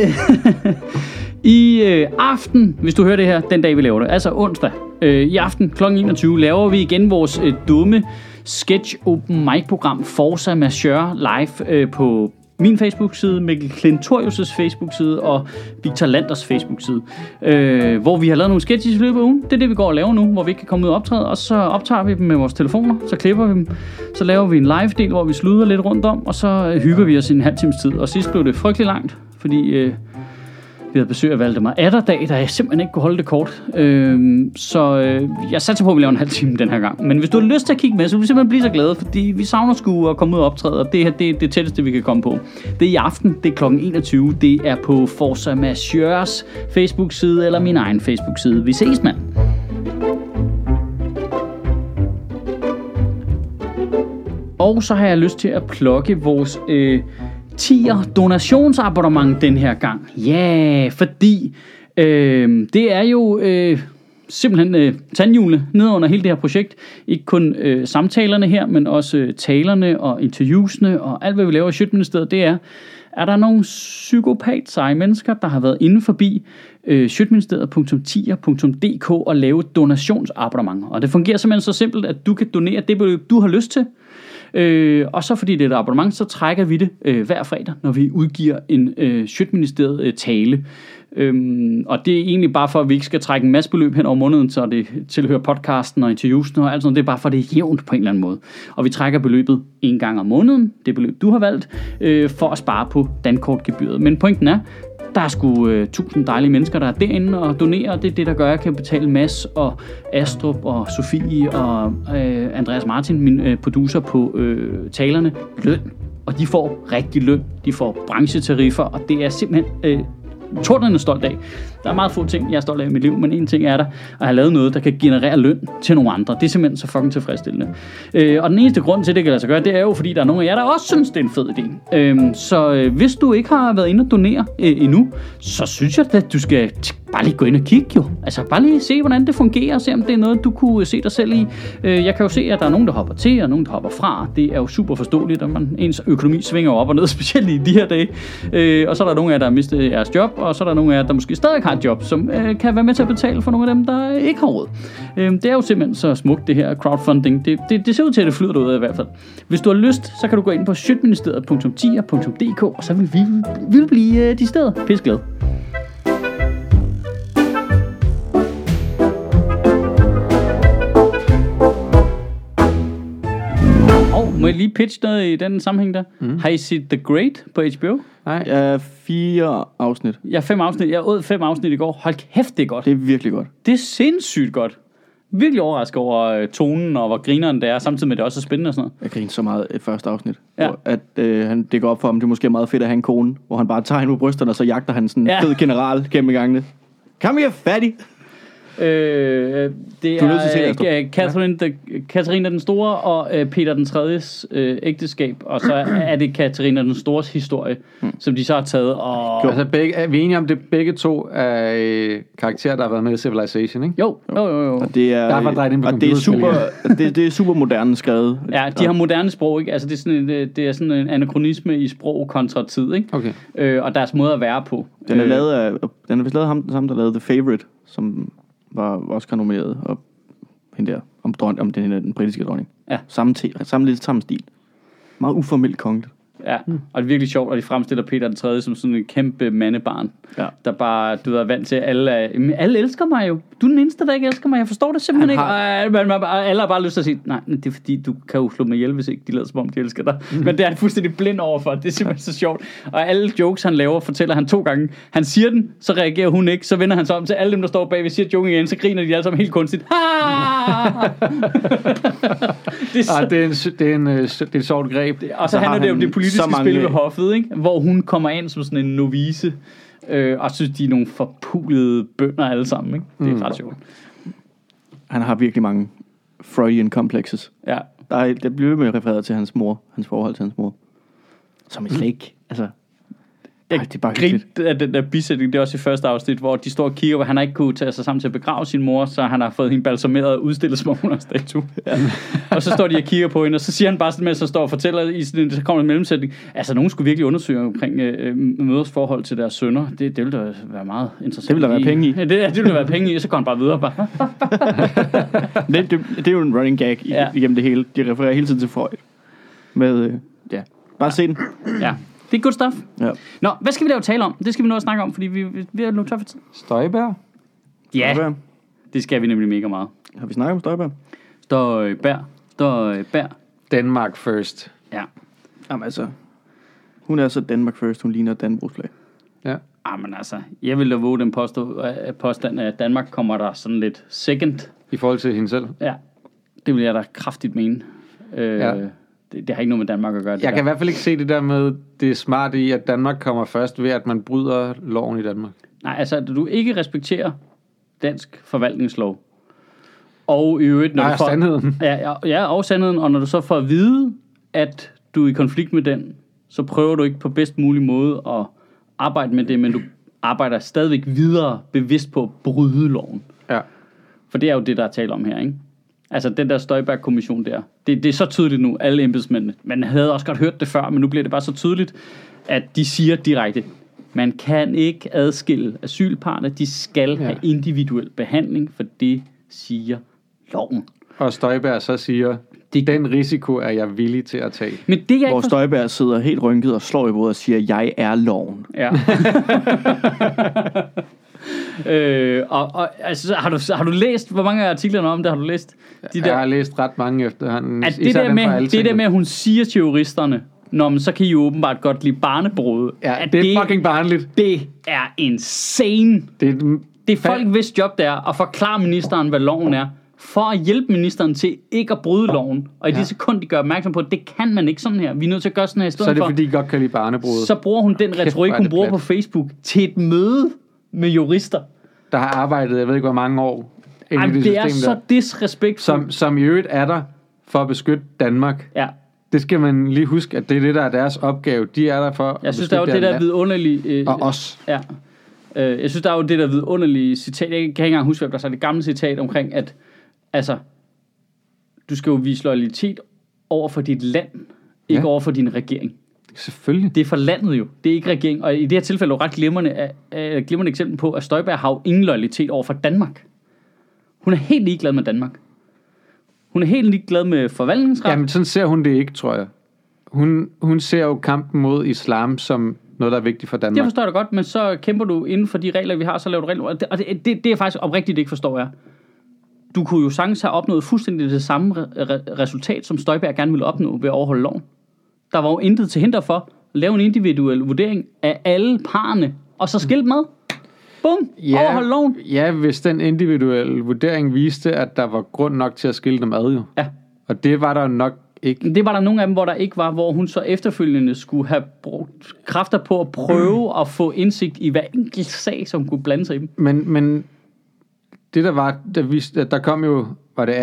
Speaker 1: [LAUGHS] I øh, aften, hvis du hører det her, den dag vi laver det, altså onsdag, øh, i aften kl. 21, laver vi igen vores øh, dumme sketch open mic program Forza Majeure live øh, på min Facebook-side, Mikkel Klintorius' Facebook-side og Victor Landers Facebook-side, øh, hvor vi har lavet nogle sketches i løbet af ugen. Det er det, vi går og laver nu, hvor vi ikke kan komme ud og optræde, og så optager vi dem med vores telefoner, så klipper vi dem, så laver vi en live-del, hvor vi sluder lidt rundt om, og så øh, hygger vi os i en halv times tid. Og sidst blev det frygtelig langt, fordi øh, Vi havde besøg af Valdemar Atterdag, der jeg simpelthen ikke kunne holde det kort. Øhm, så øh, jeg satser på, at vi laver en halv time den her gang. Men hvis du har lyst til at kigge med, så vil vi simpelthen blive så glade, fordi vi savner sgu at komme ud og optræde, og det her det er det tætteste, vi kan komme på. Det er i aften, det er kl. 21, det er på Forza Majeurs Facebook-side eller min egen Facebook-side. Vi ses, mand! Og så har jeg lyst til at plukke vores øh, 10'er donationsabonnement den her gang. Ja, yeah, fordi øh, det er jo øh, simpelthen øh, tandhjulene ned under hele det her projekt. Ikke kun øh, samtalerne her, men også øh, talerne og interviewsene og alt, hvad vi laver i Sjøtministeriet, det er, er der nogle psykopat seje mennesker, der har været inde forbi øh, sjøtministeriet.10.dk og lave donationsabonnementer. Og det fungerer simpelthen så simpelt, at du kan donere det beløb, du har lyst til. Øh, og så fordi det er et abonnement, så trækker vi det øh, hver fredag, når vi udgiver en øh, Sjøtministeriet øh, tale. Øhm, og det er egentlig bare for, at vi ikke skal trække en masse beløb hen over måneden, så det tilhører podcasten og interviewsen og alt sådan noget. Det er bare for, at det er jævnt på en eller anden måde. Og vi trækker beløbet en gang om måneden, det beløb du har valgt, øh, for at spare på dankortgebyret. Men pointen er, der er sgu øh, tusind dejlige mennesker, der er derinde og donerer, og det er det, der gør, at jeg kan betale Mads og Astrup og Sofie og øh, Andreas Martin, min øh, producer på øh, talerne, løn. Og de får rigtig løn, de får branchetariffer, og det er simpelthen øh, tordnende stolt af. Der er meget få ting, jeg er stolt af i mit liv, men en ting er der, at have lavet noget, der kan generere løn til nogle andre. Det er simpelthen så fucking tilfredsstillende. Øh, og den eneste grund til, at det kan lade sig gøre, det er jo, fordi der er nogle af jer, der også synes, det er en fed idé. Øh, så øh, hvis du ikke har været inde og donere øh, endnu, så synes jeg, at du skal t- bare lige gå ind og kigge jo. Altså bare lige se, hvordan det fungerer, og se om det er noget, du kunne se dig selv i. Øh, jeg kan jo se, at der er nogen, der hopper til, og nogen, der hopper fra. Det er jo super forståeligt, at man, ens økonomi svinger jo op og ned, [LAUGHS] specielt i de her dage. Øh, og så er der nogle af jer, der har mistet jeres job, og så er der nogle af jer, der måske stadig har et job, som øh, kan være med til at betale for nogle af dem, der øh, ikke har råd. Øh, det er jo simpelthen så smukt, det her crowdfunding. Det, det, det ser ud til, at det flyder ud af i hvert fald. Hvis du har lyst, så kan du gå ind på sjøtministeriet.10.dk, og så vil vi, vi vil blive øh, de steder. Pisglad. Og må jeg lige pitche noget i den sammenhæng der? Mm. Har I set The Great på HBO?
Speaker 2: Nej.
Speaker 3: Ja, fire afsnit.
Speaker 1: Jeg, er fem afsnit, jeg åd fem afsnit i går. Hold kæft, det er godt.
Speaker 3: Det er virkelig godt.
Speaker 1: Det er sindssygt godt. Virkelig overrasket over øh, tonen og hvor grineren det er, samtidig med at det også er spændende og sådan noget.
Speaker 3: Jeg griner så meget i første afsnit.
Speaker 1: Ja.
Speaker 3: hvor At øh, han, det går op for ham, det er måske meget fedt at have en kone, hvor han bare tager hende på brysterne, og så jagter han sådan en
Speaker 1: Ja.
Speaker 3: ja. fed general gennem gangene. Kom her, fattig!
Speaker 1: Øh, det
Speaker 3: Du er nødt til at se det,
Speaker 1: er,
Speaker 3: Astrup.
Speaker 1: er øh, Catherine, ja. the, Katharina den Store og øh, Peter den Tredjes øh, ægteskab, og så er det Katharina den Stores historie, mm. som de så har taget og...
Speaker 2: Altså, begge, er vi enige om, det er begge to er øh, karakterer, der har været med i Civilization, ikke?
Speaker 1: Jo, jo, jo, jo.
Speaker 3: Og det er,
Speaker 2: Der var drejet ind på
Speaker 3: og det er super,
Speaker 2: computerspil,
Speaker 3: [LAUGHS] det, det er super moderne skrevet.
Speaker 1: Ja, de har moderne sprog, ikke? Altså, det er sådan, et, det er sådan en anachronisme i sprog kontra tid, ikke?
Speaker 2: Okay.
Speaker 1: Øh, og deres måde at være på.
Speaker 3: Den er
Speaker 1: Øh,
Speaker 3: lavet af, den er vist lavet af ham, den samme, der lavede The Favorite, som var Oscar nomineret, og hende der, om, dron, om den, den britiske dronning.
Speaker 1: Ja.
Speaker 3: Samme, te, samme lidt samme stil. Meget uformelt kongeligt.
Speaker 1: Ja, og det er virkelig sjovt, at de fremstiller Peter den 3. som sådan en kæmpe mandebarn,
Speaker 3: Ja.
Speaker 1: der bare, du ved, er vant til, at alle, er, "Jamen, alle elsker mig jo. Du er den eneste, der ikke elsker mig. Jeg forstår det simpelthen
Speaker 2: Han
Speaker 1: ikke. Og man, man, og alle har bare lyst til at sige, nej, men det er fordi, du kan jo slå mig ihjel, hvis ikke de lader som om, de elsker dig. Men det er han fuldstændig blind overfor. Det er simpelthen så sjovt. Og alle jokes, han laver, fortæller han to gange. Han siger den, så reagerer hun ikke. Så vender han sig om til alle dem, der står bagved, siger joken igen, så griner de alle sammen helt kunstigt. [LAUGHS] Ah! det er så
Speaker 2: Ah, det er, en, sy- det, er en, øh, sy- det er et sjovt greb. Det,
Speaker 1: og så, så handler det om det politiske
Speaker 3: så mange-
Speaker 1: spil ved hoffet, ikke? hvor hun kommer ind som sådan en novice, øh, og synes, de er nogle forpulede bønder alle sammen. Ikke? Det er mm. ret sjovt.
Speaker 3: Han har virkelig mange Freudian complexes.
Speaker 1: Ja.
Speaker 3: Der, er, der bliver ved med refereret til hans mor, hans forhold til hans mor. Som i slet ikke,
Speaker 1: [LAUGHS]
Speaker 3: altså...
Speaker 1: Jeg
Speaker 3: Ej, det er bare hyggeligt.
Speaker 1: grinte af den der bisætning, det er også i første afsnit, hvor de står og kigger, hvor han har ikke kunne tage sig sammen til at begrave sin mor, så han har fået hende balsameret og udstillet som om hun er en
Speaker 3: [LAUGHS]
Speaker 1: statue. Ja. og så står de og kigger på hende, og så siger han bare sådan, mens han står og fortæller, i sådan en, så kommer en mellemsætning, altså nogen skulle virkelig undersøge omkring øh, øh, møders forhold til deres sønner. Det, det ville da være meget interessant.
Speaker 3: Det ville der være
Speaker 1: lige-
Speaker 3: penge i.
Speaker 1: Ja, det, det ville der være penge i, og så går han bare videre. Bare.
Speaker 3: Det, det, det er jo en running gag i,
Speaker 1: Ja.
Speaker 3: ja. igennem det hele. De refererer hele tiden til Freud. Med, øh, ja. Bare se den.
Speaker 1: Ja, det er good stuff.
Speaker 3: Ja.
Speaker 1: Nå, hvad skal vi lave tale om? Det skal vi nå at snakke om, fordi vi, vi, vi er nu tør for tid.
Speaker 2: Støjbær?
Speaker 1: Ja,
Speaker 3: Støjberg.
Speaker 1: det skal vi nemlig mega meget.
Speaker 3: Har vi snakket om Støjberg?
Speaker 1: Støj, bær, støj, bær.
Speaker 2: Danmark first.
Speaker 1: Ja.
Speaker 3: Jamen altså, hun er så Danmark first. Hun ligner Dannebrogsflag.
Speaker 2: Ja.
Speaker 1: Jamen altså, jeg vil da våge den påstå, øh, påstand, at Danmark kommer der sådan lidt second.
Speaker 2: I forhold til hende selv.
Speaker 1: Ja, det vil jeg da kraftigt mene. Øh,
Speaker 2: Ja.
Speaker 1: ja. det, det har ikke noget med Danmark at gøre. Det
Speaker 2: Jeg
Speaker 1: der.
Speaker 2: kan i hvert fald ikke se det der med det smarte i, at Danmark kommer først ved, at man bryder loven i Danmark.
Speaker 1: Nej, altså, at du ikke respekterer dansk forvaltningslov. Og i øvrigt, når
Speaker 2: Nej,
Speaker 1: du får... [LAUGHS]
Speaker 2: sandheden.
Speaker 1: Ja, ja, ja, og sandheden. Og når du så får at vide, at du er i konflikt med den, så prøver du ikke på bedst mulig måde at arbejde med det, men du arbejder stadigvæk videre bevidst på at bryde loven.
Speaker 2: Ja.
Speaker 1: For det er jo det, der er tale om her, ikke? Altså, den der Støjberg-kommission der, det, det er så tydeligt nu, alle embedsmændene. Man havde også godt hørt det før, men nu bliver det bare så tydeligt, at de siger direkte, man kan ikke adskille asylparne, de skal ja. have individuel behandling, for det siger loven.
Speaker 2: Og Støjberg så siger, det... den risiko er jeg villig til at tage.
Speaker 1: Men det, jeg ikke
Speaker 3: Hvor
Speaker 1: forstår...
Speaker 3: Støjberg sidder helt rynket og slår i bordet og siger, jeg er loven.
Speaker 1: Ja. [LAUGHS] øh, og, og altså, så har, du, så har du læst, hvor mange af artiklerne om det har du læst? De
Speaker 2: Jeg har læst ret mange efterhånden.
Speaker 1: at det,
Speaker 2: især
Speaker 1: der
Speaker 2: dem fra
Speaker 1: med, det
Speaker 2: Altinget.
Speaker 1: der med, at hun siger til juristerne, Nå, men så kan I jo åbenbart godt lide barnebrud.
Speaker 2: Ja,
Speaker 1: at
Speaker 2: det er fucking barnligt.
Speaker 1: det er insane.
Speaker 2: Det er,
Speaker 1: Det er folk, hvis job det er at forklare ministeren, hvad loven er, for at hjælpe ministeren til ikke at bryde loven. Og i ja. det sekund, de gør opmærksom på, at det kan man ikke sådan her. Vi er nødt til at gøre sådan her i stedet
Speaker 2: så er det
Speaker 1: for.
Speaker 2: fordi, I godt kan lide barnebrudet.
Speaker 1: Så bruger hun den retorik,
Speaker 2: hvor er
Speaker 1: hun
Speaker 2: det
Speaker 1: bruger
Speaker 2: plat.
Speaker 1: på Facebook, til et møde med jurister.
Speaker 2: der har arbejdet, jeg ved ikke hvor mange år, inden
Speaker 1: Ej,
Speaker 2: i
Speaker 1: det, det er
Speaker 2: system
Speaker 1: så
Speaker 2: der,
Speaker 1: disrespektfuldt.
Speaker 2: som, som i øvrigt er der for at beskytte Danmark.
Speaker 1: Ja,
Speaker 2: Det skal man lige huske, at det er det, der er deres opgave. De er der for at
Speaker 1: jeg synes, der er
Speaker 2: beskytte
Speaker 1: jo det der
Speaker 2: deres land.
Speaker 1: vidunderlige... Øh,
Speaker 2: Og os.
Speaker 1: Ja. Øh, jeg synes, der er jo det der vidunderlige citat. Jeg kan ikke engang huske, hvad der er det gamle citat omkring, at altså, du skal jo vise loyalitet over for dit land, ikke
Speaker 2: Ja.
Speaker 1: over for din regering.
Speaker 2: Selvfølgelig.
Speaker 1: Det er for landet jo, det er ikke regeringen. Og i det her tilfælde er jo ret glimrende, øh, øh, glimrende eksempel på, at Støjberg har jo ingen loyalitet over for Danmark. Hun er helt ligeglad med Danmark. Hun er helt ligeglad med forvaltningsret.
Speaker 2: Jamen, sådan ser hun det ikke, tror jeg. Hun, hun ser jo kampen mod islam som noget, der er vigtigt for
Speaker 1: Det
Speaker 2: Danmark.
Speaker 1: forstår jeg da godt, men så kæmper du inden for de regler, vi har, så laver du regler. Og det, og det, det, det er faktisk oprigtigt ikke forstår jeg. Du kunne jo sagtens have opnået fuldstændig det samme re- re- resultat, som Støjberg gerne ville opnå ved at overholde loven. Der var jo intet til hinder for at lave en individuel vurdering af alle parerne, og så skille dem ad. Bum! Ja. Overholde loven.
Speaker 2: Ja, hvis den individuelle vurdering viste, at der var grund nok til at skille dem ad, jo.
Speaker 1: Ja.
Speaker 2: Og det var der jo nok ikke.
Speaker 1: Det var der nogle af dem, hvor der ikke var, hvor hun så efterfølgende skulle have brugt kræfter på at prøve at få indsigt i hver enkelt sag, som kunne blande sig i dem.
Speaker 2: Men, men det der var, der, viste, at der kom jo, var det 18.000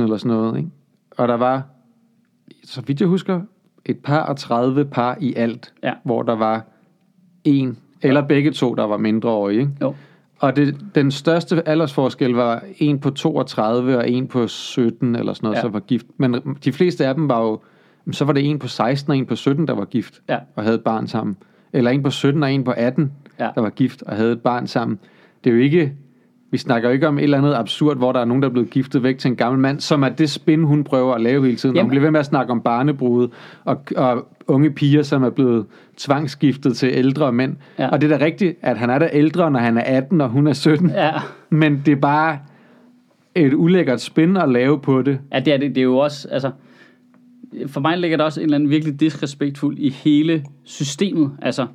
Speaker 2: eller sådan noget, ikke? Og der var, så vidt jeg husker, et par og 30 par i alt,
Speaker 1: Ja.
Speaker 2: hvor der var en eller begge to, der var mindreårige, ikke?
Speaker 1: Jo.
Speaker 2: Og det, den største aldersforskel var en på 32 og en på 17 eller sådan noget,
Speaker 1: Ja.
Speaker 2: ja. så var gift. Men de fleste af dem var jo, jamen, så var det en på 16 og en på 17, der var gift
Speaker 1: Ja.
Speaker 2: og havde et barn sammen. Eller en på 17 og en på 18,
Speaker 1: Ja.
Speaker 2: der var gift og havde et barn sammen. Det er jo ikke, vi snakker jo ikke om et eller andet absurd, hvor der er nogen, der er blevet giftet væk til en gammel mand, som er det spin, hun prøver at lave hele tiden. Jamen.
Speaker 1: Jamen.
Speaker 2: Hun bliver ved med at snakke om barnebrude og, og unge piger, som er blevet tvangsgiftet til ældre mænd.
Speaker 1: Ja.
Speaker 2: Ja. Og det er da rigtigt, at han er da ældre, når han er 18, og hun er 17. Ja.
Speaker 1: Ja.
Speaker 2: Men det er bare et ulækkert spin at lave på det.
Speaker 1: Ja, det er det. Det er jo også, altså, for mig ligger der også en eller anden virkelig disrespektfuld i hele systemet. Altså,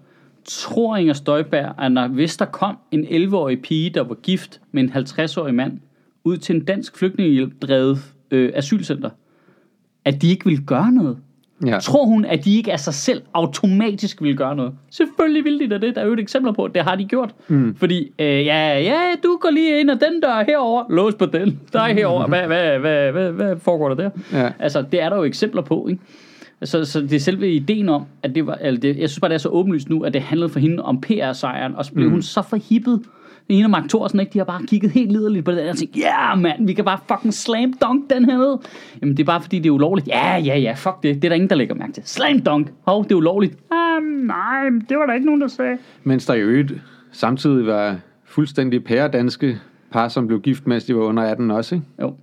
Speaker 1: tror Inger Støjberg, at når, hvis der kom en 11-årig pige, der var gift med en 50-årig mand, ud til en dansk flygtningehjælp drevet øh, asylcenter, at de ikke vil gøre noget?
Speaker 2: Ja.
Speaker 1: Tror hun, at de ikke af sig selv automatisk vil gøre noget? Selvfølgelig vil de da det. Der er jo et eksempler på, at det har de gjort. Mm. Fordi, øh, ja, ja, du går lige ind, og den dør herover lås på den. Der er herover. Hvad, hvad, hvad, hvad, hvad foregår der der?
Speaker 2: Ja.
Speaker 1: Altså, det er der jo eksempler på, ikke? Så, så det er selve ideen om, at det var, altså det, jeg synes bare, det er så åbenlyst nu, at det handlede for hende om PR-sejren, og så blev mm. hun så forhippet. Hende og Mark Thorsen, ikke? De har bare kigget helt liderligt på det der, og tænkt, ja yeah, mand, vi kan bare fucking slam dunk den her ned. Jamen det er bare fordi, det er ulovligt. Ja, ja, ja, fuck det. Det er der ingen, der lægger mærke til. Slam dunk. Hov, det er ulovligt. Ah, nej, det var der ikke nogen, der sagde.
Speaker 2: Mens der i øvrigt samtidig var fuldstændig pæredanske par, som blev gift, mens de var under 18 også. Ikke?
Speaker 1: Jo.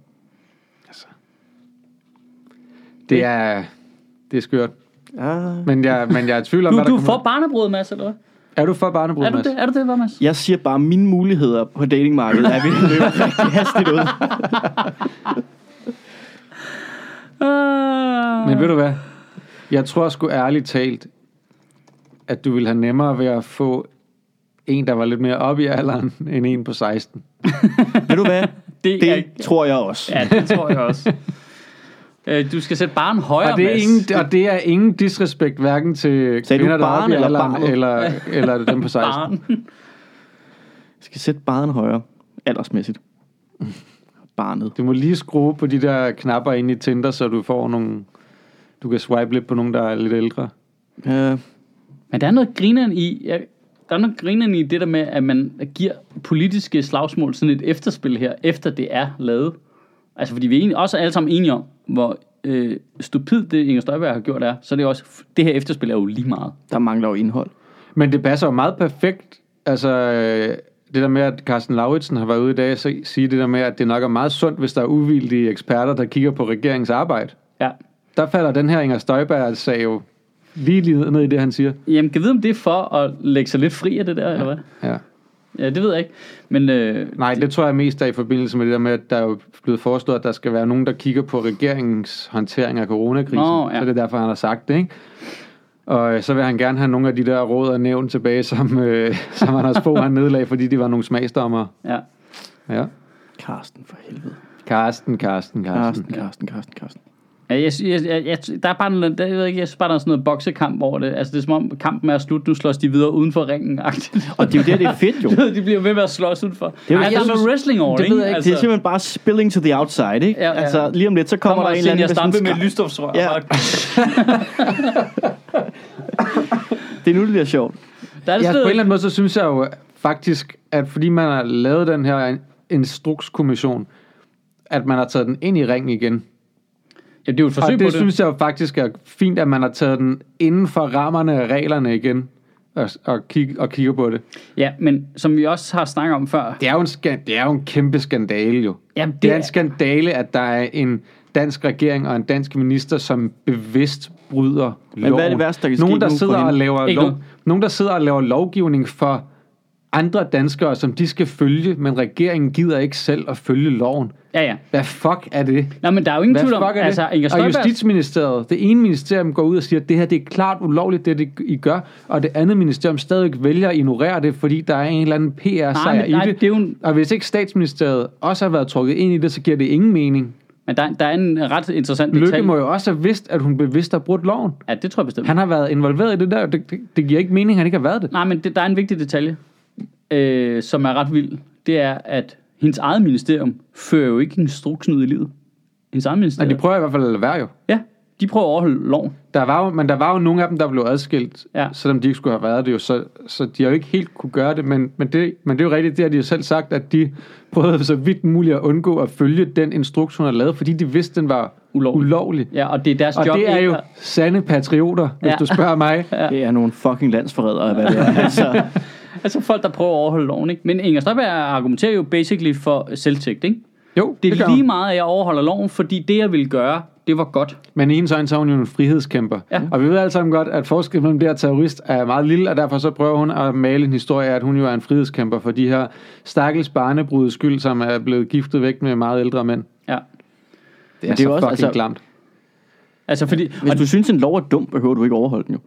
Speaker 2: Det er, det er skørt.
Speaker 3: Ja.
Speaker 2: Men jeg, men jeg er i tvivl om,
Speaker 1: Du,
Speaker 2: hvad der
Speaker 1: du
Speaker 2: kommer
Speaker 1: får barnebrød, Mads, eller hvad?
Speaker 2: ud. Er du for barnebrud,
Speaker 1: Er du
Speaker 2: Mads?
Speaker 1: det, er du det, hvad, Mads?
Speaker 3: Jeg siger bare, at mine muligheder på datingmarkedet er ved at [LAUGHS] løbe rigtig hastigt ud.
Speaker 1: Ah.
Speaker 2: Men ved du hvad? Jeg tror sgu ærligt talt, at du vil have nemmere ved at få en, der var lidt mere oppe i alderen, end en på 16.
Speaker 3: Ved du hvad?
Speaker 1: Det, det er,
Speaker 3: Det tror jeg også.
Speaker 1: ja, det tror jeg også. Øh, du skal sætte barn højere,
Speaker 2: Og det, er
Speaker 1: Mads.
Speaker 2: ingen, og det er ingen disrespekt hverken til
Speaker 3: Sagde du
Speaker 2: kvinder, der er oppe i
Speaker 3: barn eller
Speaker 2: alderen,
Speaker 3: barnet?
Speaker 2: eller, eller dem på 16.
Speaker 1: barn.
Speaker 3: Jeg skal sætte barnet højere, aldersmæssigt. Barnet.
Speaker 2: Du må lige skrue på de der knapper inde i Tinder, så du får nogle... Du kan swipe lidt på nogen, der er lidt ældre.
Speaker 3: Uh,
Speaker 1: Men der er noget grineren i, jeg, der er noget grineren i det der med, at man giver politiske slagsmål sådan et efterspil her, efter det er lavet. Altså, fordi vi er egentlig, også alle sammen enige om, hvor øh, stupid det Inger Støjberg har gjort er, så er det også, det her efterspil er jo lige meget.
Speaker 3: der mangler jo indhold.
Speaker 2: Men det passer jo meget perfekt. Altså, øh, det der med, at Carsten Lauritsen har været ude i dag og se- sige det der med, at det nok er meget sundt, hvis der er uvildige eksperter, der kigger på regeringens arbejde.
Speaker 1: Ja.
Speaker 2: Der falder den her Inger Støjberg sag jo lige, lige ned i det, han siger.
Speaker 1: Jamen, kan vide, om det er for at lægge sig lidt fri af det der, ja. eller hvad?
Speaker 2: Ja.
Speaker 1: Ja, det ved jeg ikke. Men øh,
Speaker 2: Nej, det tror jeg mest er i forbindelse med det der med, at der er jo blevet foreslået, at der skal være nogen, der kigger på regeringens håndtering af coronakrisen.
Speaker 1: Nå, ja.
Speaker 2: Så det er derfor, han har sagt det, ikke? Og øh, så vil han gerne have nogle af de der råd og nævn tilbage, som, øh, [LAUGHS] som Anders Fogh han nedlagde, fordi de var nogle smagsdommer.
Speaker 1: ja.
Speaker 2: Ja.
Speaker 3: Karsten, for helvede.
Speaker 2: Karsten, Karsten, Karsten.
Speaker 3: Karsten, Karsten, Karsten, Karsten.
Speaker 1: Ja, jeg, sy- jeg, jeg, jeg, der er bare noget, der, jeg, ved ikke, jeg synes bare, der er sådan noget boksekamp over det. Altså, det er som om kampen er slut, nu slås de videre uden for ringen. [LAUGHS]
Speaker 3: Og det er jo der, det er fedt jo.
Speaker 1: Du ved, de bliver ved med at slås udenfor. Det
Speaker 3: er
Speaker 1: er,
Speaker 3: jo-
Speaker 1: Ej, der
Speaker 3: jeg
Speaker 1: er noget
Speaker 3: synes-
Speaker 1: wrestling over
Speaker 3: Det
Speaker 1: ikke? Altså-
Speaker 3: ved jeg ikke. Det er simpelthen bare spilling to the outside, ikke?
Speaker 1: Ja, ja.
Speaker 3: Altså, lige om lidt, så kommer,
Speaker 1: kommer
Speaker 3: der en eller anden...
Speaker 1: Jeg stampe
Speaker 3: sådan
Speaker 1: med
Speaker 3: en
Speaker 1: et lysstofsrør.
Speaker 3: Ja.
Speaker 1: Ja.
Speaker 3: skra- Det er nu, det bliver sjovt.
Speaker 1: Der er det
Speaker 2: Ja, på en
Speaker 1: sted,
Speaker 2: eller anden måde, så synes jeg jo faktisk, at fordi man har lavet den her instrukskommission, at man har taget den ind i ringen igen.
Speaker 1: ja, det er jo et
Speaker 2: Og
Speaker 1: forsøg
Speaker 2: det,
Speaker 1: på
Speaker 2: det
Speaker 1: det.
Speaker 2: synes jeg jo faktisk er fint, at man har taget den inden for rammerne af reglerne igen og, og, kig, og kigger på det.
Speaker 1: Ja, men som vi også har snakket om før.
Speaker 2: Det er jo en, skan, det er jo en kæmpe skandale jo.
Speaker 1: Jamen,
Speaker 2: det er
Speaker 1: det
Speaker 2: en skandale, at der er en dansk regering og en dansk minister, som bevidst bryder loven.
Speaker 3: hvad er det værste, der kan ske
Speaker 2: Nogen, der
Speaker 3: nu for
Speaker 2: sidder og
Speaker 3: hende?
Speaker 2: laver
Speaker 1: Ikke
Speaker 2: lov,
Speaker 1: noget.
Speaker 2: nogen, der sidder og laver lovgivning for andre danskere, som de skal følge, men regeringen gider ikke selv at følge loven.
Speaker 1: Ja, ja.
Speaker 2: Hvad fuck er det?
Speaker 1: Nå, men der er jo ingen
Speaker 2: Hvad
Speaker 1: tvivl om,
Speaker 2: fuck er
Speaker 1: altså, Inger
Speaker 2: det? Og
Speaker 1: Støjberg...
Speaker 2: Justitsministeriet, det ene ministerium går ud og siger, at det her det er klart ulovligt, det, det I gør, og det andet ministerium stadigvæk vælger at ignorere det, fordi der er en eller anden
Speaker 1: Nej,
Speaker 2: PR-sejr
Speaker 1: men,
Speaker 2: i
Speaker 1: nej,
Speaker 2: det.
Speaker 1: det er jo en,
Speaker 2: Og hvis ikke statsministeriet også har været trukket ind i det, så giver det ingen mening.
Speaker 1: men der, der er en ret interessant
Speaker 2: Lykke
Speaker 1: detalje.
Speaker 2: må jo også have vidst, at hun bevidst har brudt loven.
Speaker 1: Ja, det tror jeg bestemt.
Speaker 2: Han har været involveret i det der, og det, det, det giver ikke mening, at han ikke har været det.
Speaker 1: Nej, men det, der er en vigtig detalje, øh, som er ret vild. Det er, at hendes eget ministerium fører jo ikke instruksen ud i livet. Hendes eget
Speaker 2: Nej,
Speaker 1: ministerium.
Speaker 2: de prøver i hvert fald at lade være jo.
Speaker 1: ja, de prøver at overholde loven.
Speaker 2: Der var jo. Men der var jo nogle af dem, der blev adskilt,
Speaker 1: Ja.
Speaker 2: selvom de ikke skulle have været det jo. Så, så de har jo ikke helt kunne gøre det, men, men, det, men det er jo rigtigt, det har de jo selv sagt, at de prøvede så vidt muligt at undgå at følge den instruks, hun havde lavet, fordi de vidste, den var
Speaker 1: Ulovlig.
Speaker 2: ulovlig.
Speaker 1: Ja, og det er deres
Speaker 2: Mm. Og
Speaker 1: job.
Speaker 2: det er
Speaker 1: ikke
Speaker 2: jo
Speaker 1: at-
Speaker 2: sande patrioter,
Speaker 1: [LAUGHS]
Speaker 2: hvis
Speaker 1: Ja.
Speaker 2: du spørger mig.
Speaker 3: Ja. Det er nogle fucking landsforrædere, hvad det [LAUGHS] er. Altså,
Speaker 1: Altså folk, der prøver at overholde loven, ikke? Men Inger Støjberg argumenterer jo basically for selvtægt, ikke?
Speaker 2: Jo,
Speaker 1: Det er
Speaker 2: gør
Speaker 1: det
Speaker 2: hun.
Speaker 1: lige meget, at jeg overholder loven, fordi det, jeg ville gøre, det var godt.
Speaker 2: Men i ens øjne, så er hun jo en frihedskæmper.
Speaker 1: Ja.
Speaker 2: Og vi ved alle sammen godt, at forskellen mellem det og terrorist er meget lille, og derfor så prøver hun at male en historie af, at hun jo er en frihedskæmper for de her stakkels barnebrudes skyld, som er blevet giftet væk med meget ældre mænd.
Speaker 1: Ja.
Speaker 2: Det er,
Speaker 3: det er
Speaker 2: så
Speaker 3: også-
Speaker 2: også, fucking
Speaker 3: altså-
Speaker 2: altså, klamt.
Speaker 1: Altså fordi...
Speaker 3: hvis
Speaker 1: Og
Speaker 3: du synes, en lov er dum, behøver du ikke overholde [LAUGHS] den jo.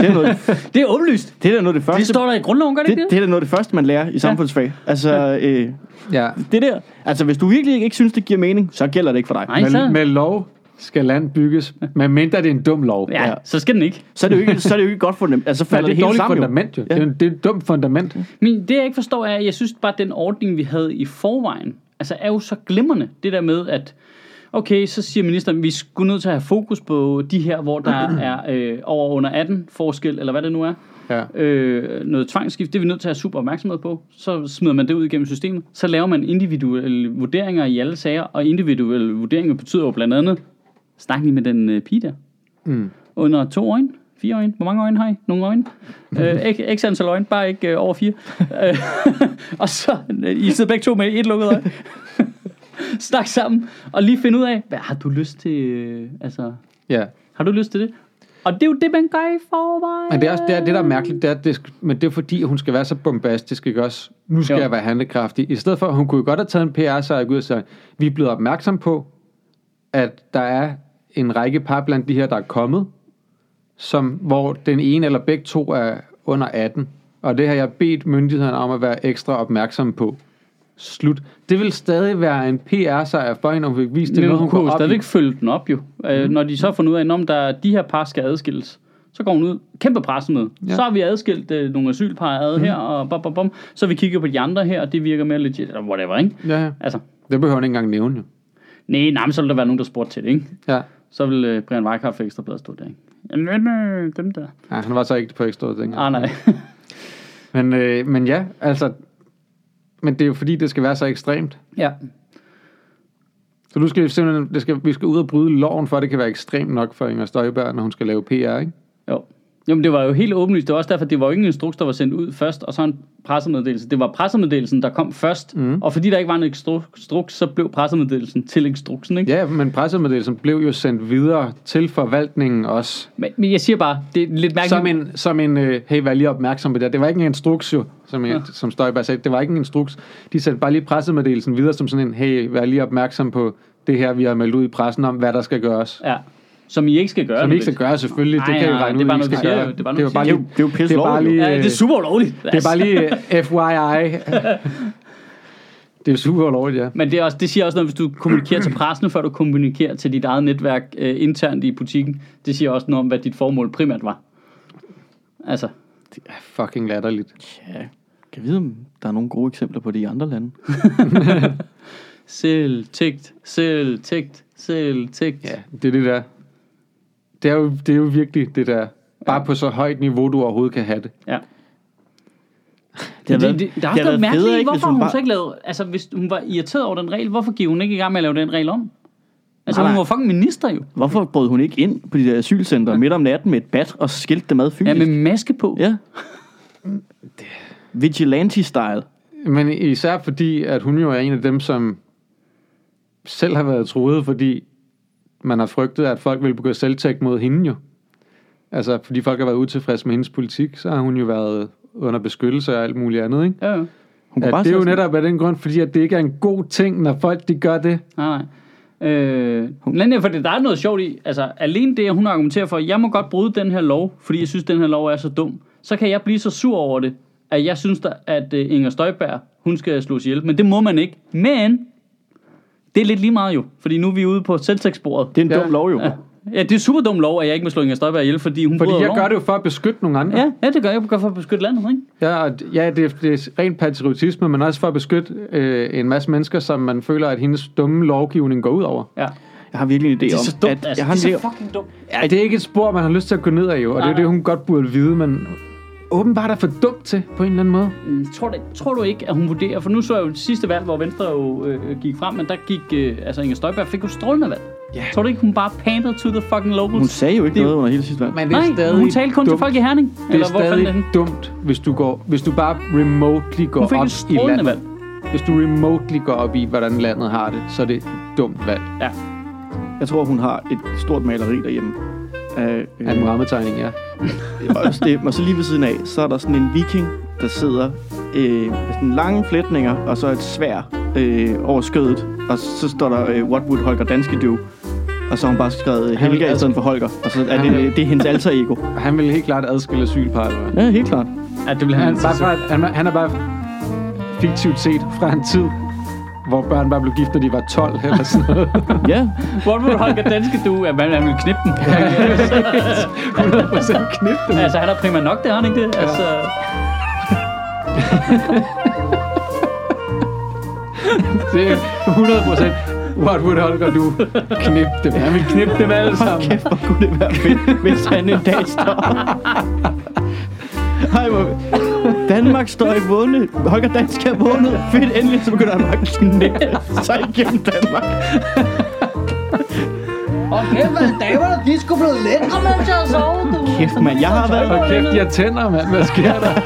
Speaker 3: Det er noget,
Speaker 1: det er åbenlyst.
Speaker 3: det er da noget af det første...
Speaker 1: Det står der i grundloven, gør det
Speaker 3: det,
Speaker 1: ikke
Speaker 3: det, er da noget af det første, man lærer i samfundsfag. Altså, øh,
Speaker 2: Ja.
Speaker 3: det der. Altså, hvis du virkelig ikke synes, det giver mening, så gælder det ikke for dig.
Speaker 1: Nej,
Speaker 2: Med,
Speaker 1: så...
Speaker 2: med lov skal land bygges, men mindre det er en dum lov.
Speaker 1: Ja,
Speaker 3: Ja.
Speaker 1: så skal den ikke.
Speaker 3: Så er det jo ikke, så er det jo ikke godt for dem. Altså, så
Speaker 2: Ja,
Speaker 3: falder
Speaker 2: det er
Speaker 3: det,
Speaker 2: et
Speaker 3: det hele
Speaker 2: dårligt
Speaker 3: sammen jo.
Speaker 2: fundament jo. Det, er, det er et dumt fundament.
Speaker 1: Men det, jeg ikke forstår, er, at jeg synes bare, at den ordning, vi havde i forvejen, altså er jo så glimrende. Det der med, at okay, så siger ministeren, vi skulle nødt til at have fokus på de her, hvor der er øh, over og under 18 forskel, eller hvad det nu er.
Speaker 2: Ja.
Speaker 1: øh, noget tvangsskift, det er vi nødt til at have super opmærksomhed på. Så smider man det ud igennem systemet. Så laver man individuelle vurderinger i alle sager, og individuelle vurderinger betyder jo blandt andet, snak lige med den øh, pige der.
Speaker 2: Mm.
Speaker 1: Under to øjne, fire øjne, hvor mange øjne har I? Nogle
Speaker 2: [LAUGHS]
Speaker 1: øjne? Øh, ikke, ikke antal øjne, bare ikke øh, over fire. Øh, [LAUGHS] og så, øh, I sidder begge to med et lukket øje. [LAUGHS] Snak sammen, og lige finde ud af, hvad har du lyst til, øh, altså,
Speaker 2: ja.
Speaker 1: har du lyst til det? Og det er jo det, man gør i forvejen.
Speaker 2: Men det er også det, er, det der er mærkeligt, det er, at det, sk- men det er fordi, at hun skal være så bombastisk, ikke også? Nu skal
Speaker 1: Jo.
Speaker 2: jo. jeg være handlekraftig. I stedet for, hun kunne jo godt have taget en PR-sejr ud og sagt, vi er blevet opmærksom på, at der er en række par blandt de her, der er kommet, som, hvor den ene eller begge to er under 18. Og det har jeg bedt myndighederne om at være ekstra opmærksom på. Slut. Det vil stadig være en PR-sejr for hende, om hun fik vist det,
Speaker 1: Men
Speaker 2: noget, hun
Speaker 1: hun kunne
Speaker 2: går
Speaker 1: jo
Speaker 2: op i. Mhm.
Speaker 1: stadigvæk følge den op jo. Øh, når de så får ud af, om der er- de her par skal adskilles, så går hun ud, kæmpe pressemøde.
Speaker 2: Ja. Mhm.
Speaker 1: Ja. Så har vi adskilt øh, nogle asylpar ad her, og bom, bom, bom. Så har vi kigger på de andre her, og det virker mere legit, eller whatever, ikke?
Speaker 2: Ja, ja.
Speaker 1: Altså,
Speaker 2: Det behøver hun ikke engang nævne, jo.
Speaker 1: nej, nej, men så vil der være nogen, der spurgte til det, ikke?
Speaker 2: Ja.
Speaker 1: Så vil øh, Brian Weikart få ekstra bedre stå der, ikke? Jamen, øh, dem der.
Speaker 2: ja han var så ikke på ekstra ting.
Speaker 1: Ah, nej.
Speaker 2: Men, øh, men ja, altså... Men det er jo fordi, det skal være så ekstremt.
Speaker 1: [LAUGHS] ja.
Speaker 2: Så du skal simpelthen, det skal, vi skal ud og bryde loven, for at det kan være ekstremt nok for Inger Støjberg, når hun skal lave PR, ikke?
Speaker 1: Jo. Jamen, det var jo helt åbenlyst. Det var også derfor, det var jo ingen instruks, der var sendt ud først, og så en pressemeddelelse. Det var pressemeddelelsen, der kom først, mm. og fordi der ikke var en instru- instruks, så blev pressemeddelelsen til instruksen, ikke?
Speaker 2: Ja, men pressemeddelelsen blev jo sendt videre til forvaltningen også.
Speaker 1: Men, men jeg siger bare, det er lidt mærkeligt.
Speaker 2: Som en, som en øh, hey, vær lige opmærksom på det der. Det var ikke en instruks jo, som, en,
Speaker 1: Ja.
Speaker 2: som Støjberg sagde. Det var ikke en instruks. De sendte bare lige pressemeddelelsen videre som sådan en, hey, vær lige opmærksom på det her, vi har meldt ud i pressen om, hvad der skal gøres.
Speaker 1: Ja. Som I ikke skal gøre.
Speaker 2: Som I
Speaker 1: vel?
Speaker 2: ikke skal gøre, selvfølgelig.
Speaker 1: Nej,
Speaker 2: det kan I
Speaker 1: nej,
Speaker 2: regne
Speaker 1: det er bare
Speaker 2: ud, I
Speaker 1: noget,
Speaker 2: ikke
Speaker 1: vi
Speaker 2: skal
Speaker 1: siger
Speaker 2: gøre.
Speaker 1: jo. Det er bare noget, vi siger.
Speaker 2: jo bare lige...
Speaker 3: Det er jo pisse
Speaker 2: Det er bare
Speaker 3: lovligt, jo.
Speaker 2: lige...
Speaker 1: Ja, det er super ulovligt.
Speaker 2: Det er bare lige øh, FYI. det er super lovligt, ja.
Speaker 1: Altså, Men det, er også, det siger også noget, hvis du kommunikerer til pressen, før du kommunikerer til dit eget netværk øh, internt i butikken. Det siger også noget om, hvad dit formål primært var.
Speaker 2: [LAUGHS]
Speaker 1: Altså,
Speaker 2: Det er fucking latterligt.
Speaker 3: Ja. Kan vide, om der er nogle gode eksempler på det i andre lande?
Speaker 1: selvtægt, selvtægt, selvtægt.
Speaker 2: Ja, det er det der. Det er jo, det er jo virkelig det der. Bare på så højt niveau, du overhovedet kan have det.
Speaker 1: ja.
Speaker 3: Det har
Speaker 1: Det,
Speaker 3: været-
Speaker 1: det, det, der er
Speaker 3: det
Speaker 1: også
Speaker 3: har
Speaker 1: noget
Speaker 3: været
Speaker 1: mærkeligt
Speaker 3: federe,
Speaker 1: i,
Speaker 3: ikke, hvis
Speaker 1: hvorfor hun
Speaker 3: bare-
Speaker 1: så ikke lavede... Altså, hvis hun var irriteret over den regel, hvorfor gik hun ikke i gang med at lave den regel om? Altså,
Speaker 3: Nej,
Speaker 1: hun
Speaker 3: nej.
Speaker 1: var fucking minister jo.
Speaker 3: Hvorfor brød hun ikke ind på de der asylcenter midt om natten med et bat og skilte dem ad
Speaker 1: Ja,
Speaker 3: fysisk?
Speaker 1: med maske på.
Speaker 3: ja. Vigilante-style.
Speaker 2: Men især fordi, at hun jo er en af dem, som selv har været truet, fordi man har frygtet, at folk vil begå selvtægt mod hende jo. Altså, fordi folk har været utilfredse med hendes politik, så har hun jo været under beskyttelse og alt muligt andet, ikke?
Speaker 1: Ja, ja.
Speaker 3: Hun kunne
Speaker 2: Ja,
Speaker 3: bare
Speaker 2: det er
Speaker 3: sidde
Speaker 2: jo
Speaker 3: sådan-
Speaker 2: netop af den grund, fordi at det ikke er en god ting, når folk de gør det.
Speaker 1: Nej, nej. Øh, men for det, der er noget sjovt i, altså alene det, at hun argumenterer for, at jeg må godt bryde den her lov, fordi jeg synes, den her lov er så dum, så kan jeg blive så sur over det, at jeg synes, der, at øh, Inger Støjberg, hun skal slås ihjel. Men det må man ikke. Men det er lidt lige meget jo, fordi nu er vi ude på selvtægtsbordet.
Speaker 3: Det er en
Speaker 2: Ja.
Speaker 3: dum lov jo.
Speaker 1: Ja. ja, det er super dum lov, at jeg ikke må slå Inger Støjberg ihjel, fordi hun
Speaker 2: Fordi
Speaker 1: bryder
Speaker 2: jeg
Speaker 1: loven.
Speaker 2: gør det jo for at beskytte nogle andre.
Speaker 1: Ja, ja, det gør jeg. Jeg gør for at beskytte landet, ikke?
Speaker 2: Ja, og d- ja det, er, det er rent patriotisme, men også for at beskytte øh, en masse mennesker, som man føler, at hendes dumme lovgivning går ud over.
Speaker 1: Ja.
Speaker 3: Jeg har virkelig en idé om,
Speaker 1: Det er så dumt,
Speaker 3: at
Speaker 1: altså.
Speaker 3: jeg har en
Speaker 1: det er
Speaker 3: idé
Speaker 1: så
Speaker 3: om,
Speaker 1: fucking dumt.
Speaker 2: Ja, det er ikke et spor, man har lyst til at gå ned ad, jo, og det
Speaker 1: Nej,
Speaker 2: er jo det,
Speaker 1: nej.
Speaker 2: hun godt burde vide, men åbenbart er for dumt til på en eller anden måde.
Speaker 1: Mm, Tror du, tror du ikke, at hun vurderer? For nu så jeg jo det sidste valg, hvor Venstre jo øh, gik frem, men der gik, øh, altså Inger Støjberg fik jo strålende valg.
Speaker 2: Ja.
Speaker 1: Tror du ikke, hun bare pander to the fucking locals?
Speaker 3: hun sagde jo ikke
Speaker 1: Det er
Speaker 3: noget under hele sidste valg.
Speaker 2: Men
Speaker 1: Nej, hun talte kun til folk i Herning.
Speaker 2: Det er
Speaker 1: hvor fanden
Speaker 2: stadig
Speaker 1: henne?
Speaker 2: dumt, hvis du, går, hvis du bare remotely går
Speaker 1: Hun fik
Speaker 2: op
Speaker 1: et
Speaker 2: i
Speaker 1: strålende
Speaker 2: landet.
Speaker 1: valg.
Speaker 2: Hvis du remotely går op i, hvordan landet har det, så er det et dumt valg.
Speaker 1: Ja.
Speaker 3: Jeg tror, hun har et stort maleri derhjemme. Af, øh,
Speaker 2: Af en Muhammed-tegning, ja.
Speaker 3: Og også det, og så lige ved siden af, så er der sådan en viking, der sidder øh, med sådan lange flætninger, og så et svær øh, over skødet. Og så står der, øh, what would Holger Danske do? Og så har hun bare skrevet øh,
Speaker 2: Han vil
Speaker 3: Helga i
Speaker 2: altså-
Speaker 3: stedet for Holger. Og så er
Speaker 2: Han
Speaker 3: det,
Speaker 2: vil-
Speaker 3: det er hendes alter ego.
Speaker 2: Han ville helt klart adskille asylpar, eller hvad?
Speaker 3: Ja, helt klart.
Speaker 1: Ja, det bliver
Speaker 2: Han,
Speaker 1: han
Speaker 2: er bare,
Speaker 1: så
Speaker 2: fra, han, er- han er bare fiktivt set fra en tid, hvor børn bare blev gift, når de var 12 eller sådan [LAUGHS] noget.
Speaker 3: Ja,
Speaker 1: Hvor vil Holger Danske, du? Ja, man, han vil knippe
Speaker 3: [LAUGHS]
Speaker 1: den.
Speaker 2: 100% knip dem.
Speaker 1: altså, han er primært nok, det har han ikke det? Altså,
Speaker 2: Det er 100% What would Holger du? Knip dem. Han vil knippe dem alle sammen.
Speaker 3: kæft, hvor kunne det være fedt, hvis han en dag står. Hej, hvor... Danmark står i vundet. Holger Dansk er vundet. Fedt, endelig, så begynder han bare at [LAUGHS] knække sig igennem Danmark.
Speaker 1: og kæft, hvad damerne, de skulle blive lækre, mens jeg sov, du.
Speaker 3: Kæft, mand. Jeg har været
Speaker 2: Og kæft, jeg tænder, mand. Hvad sker der?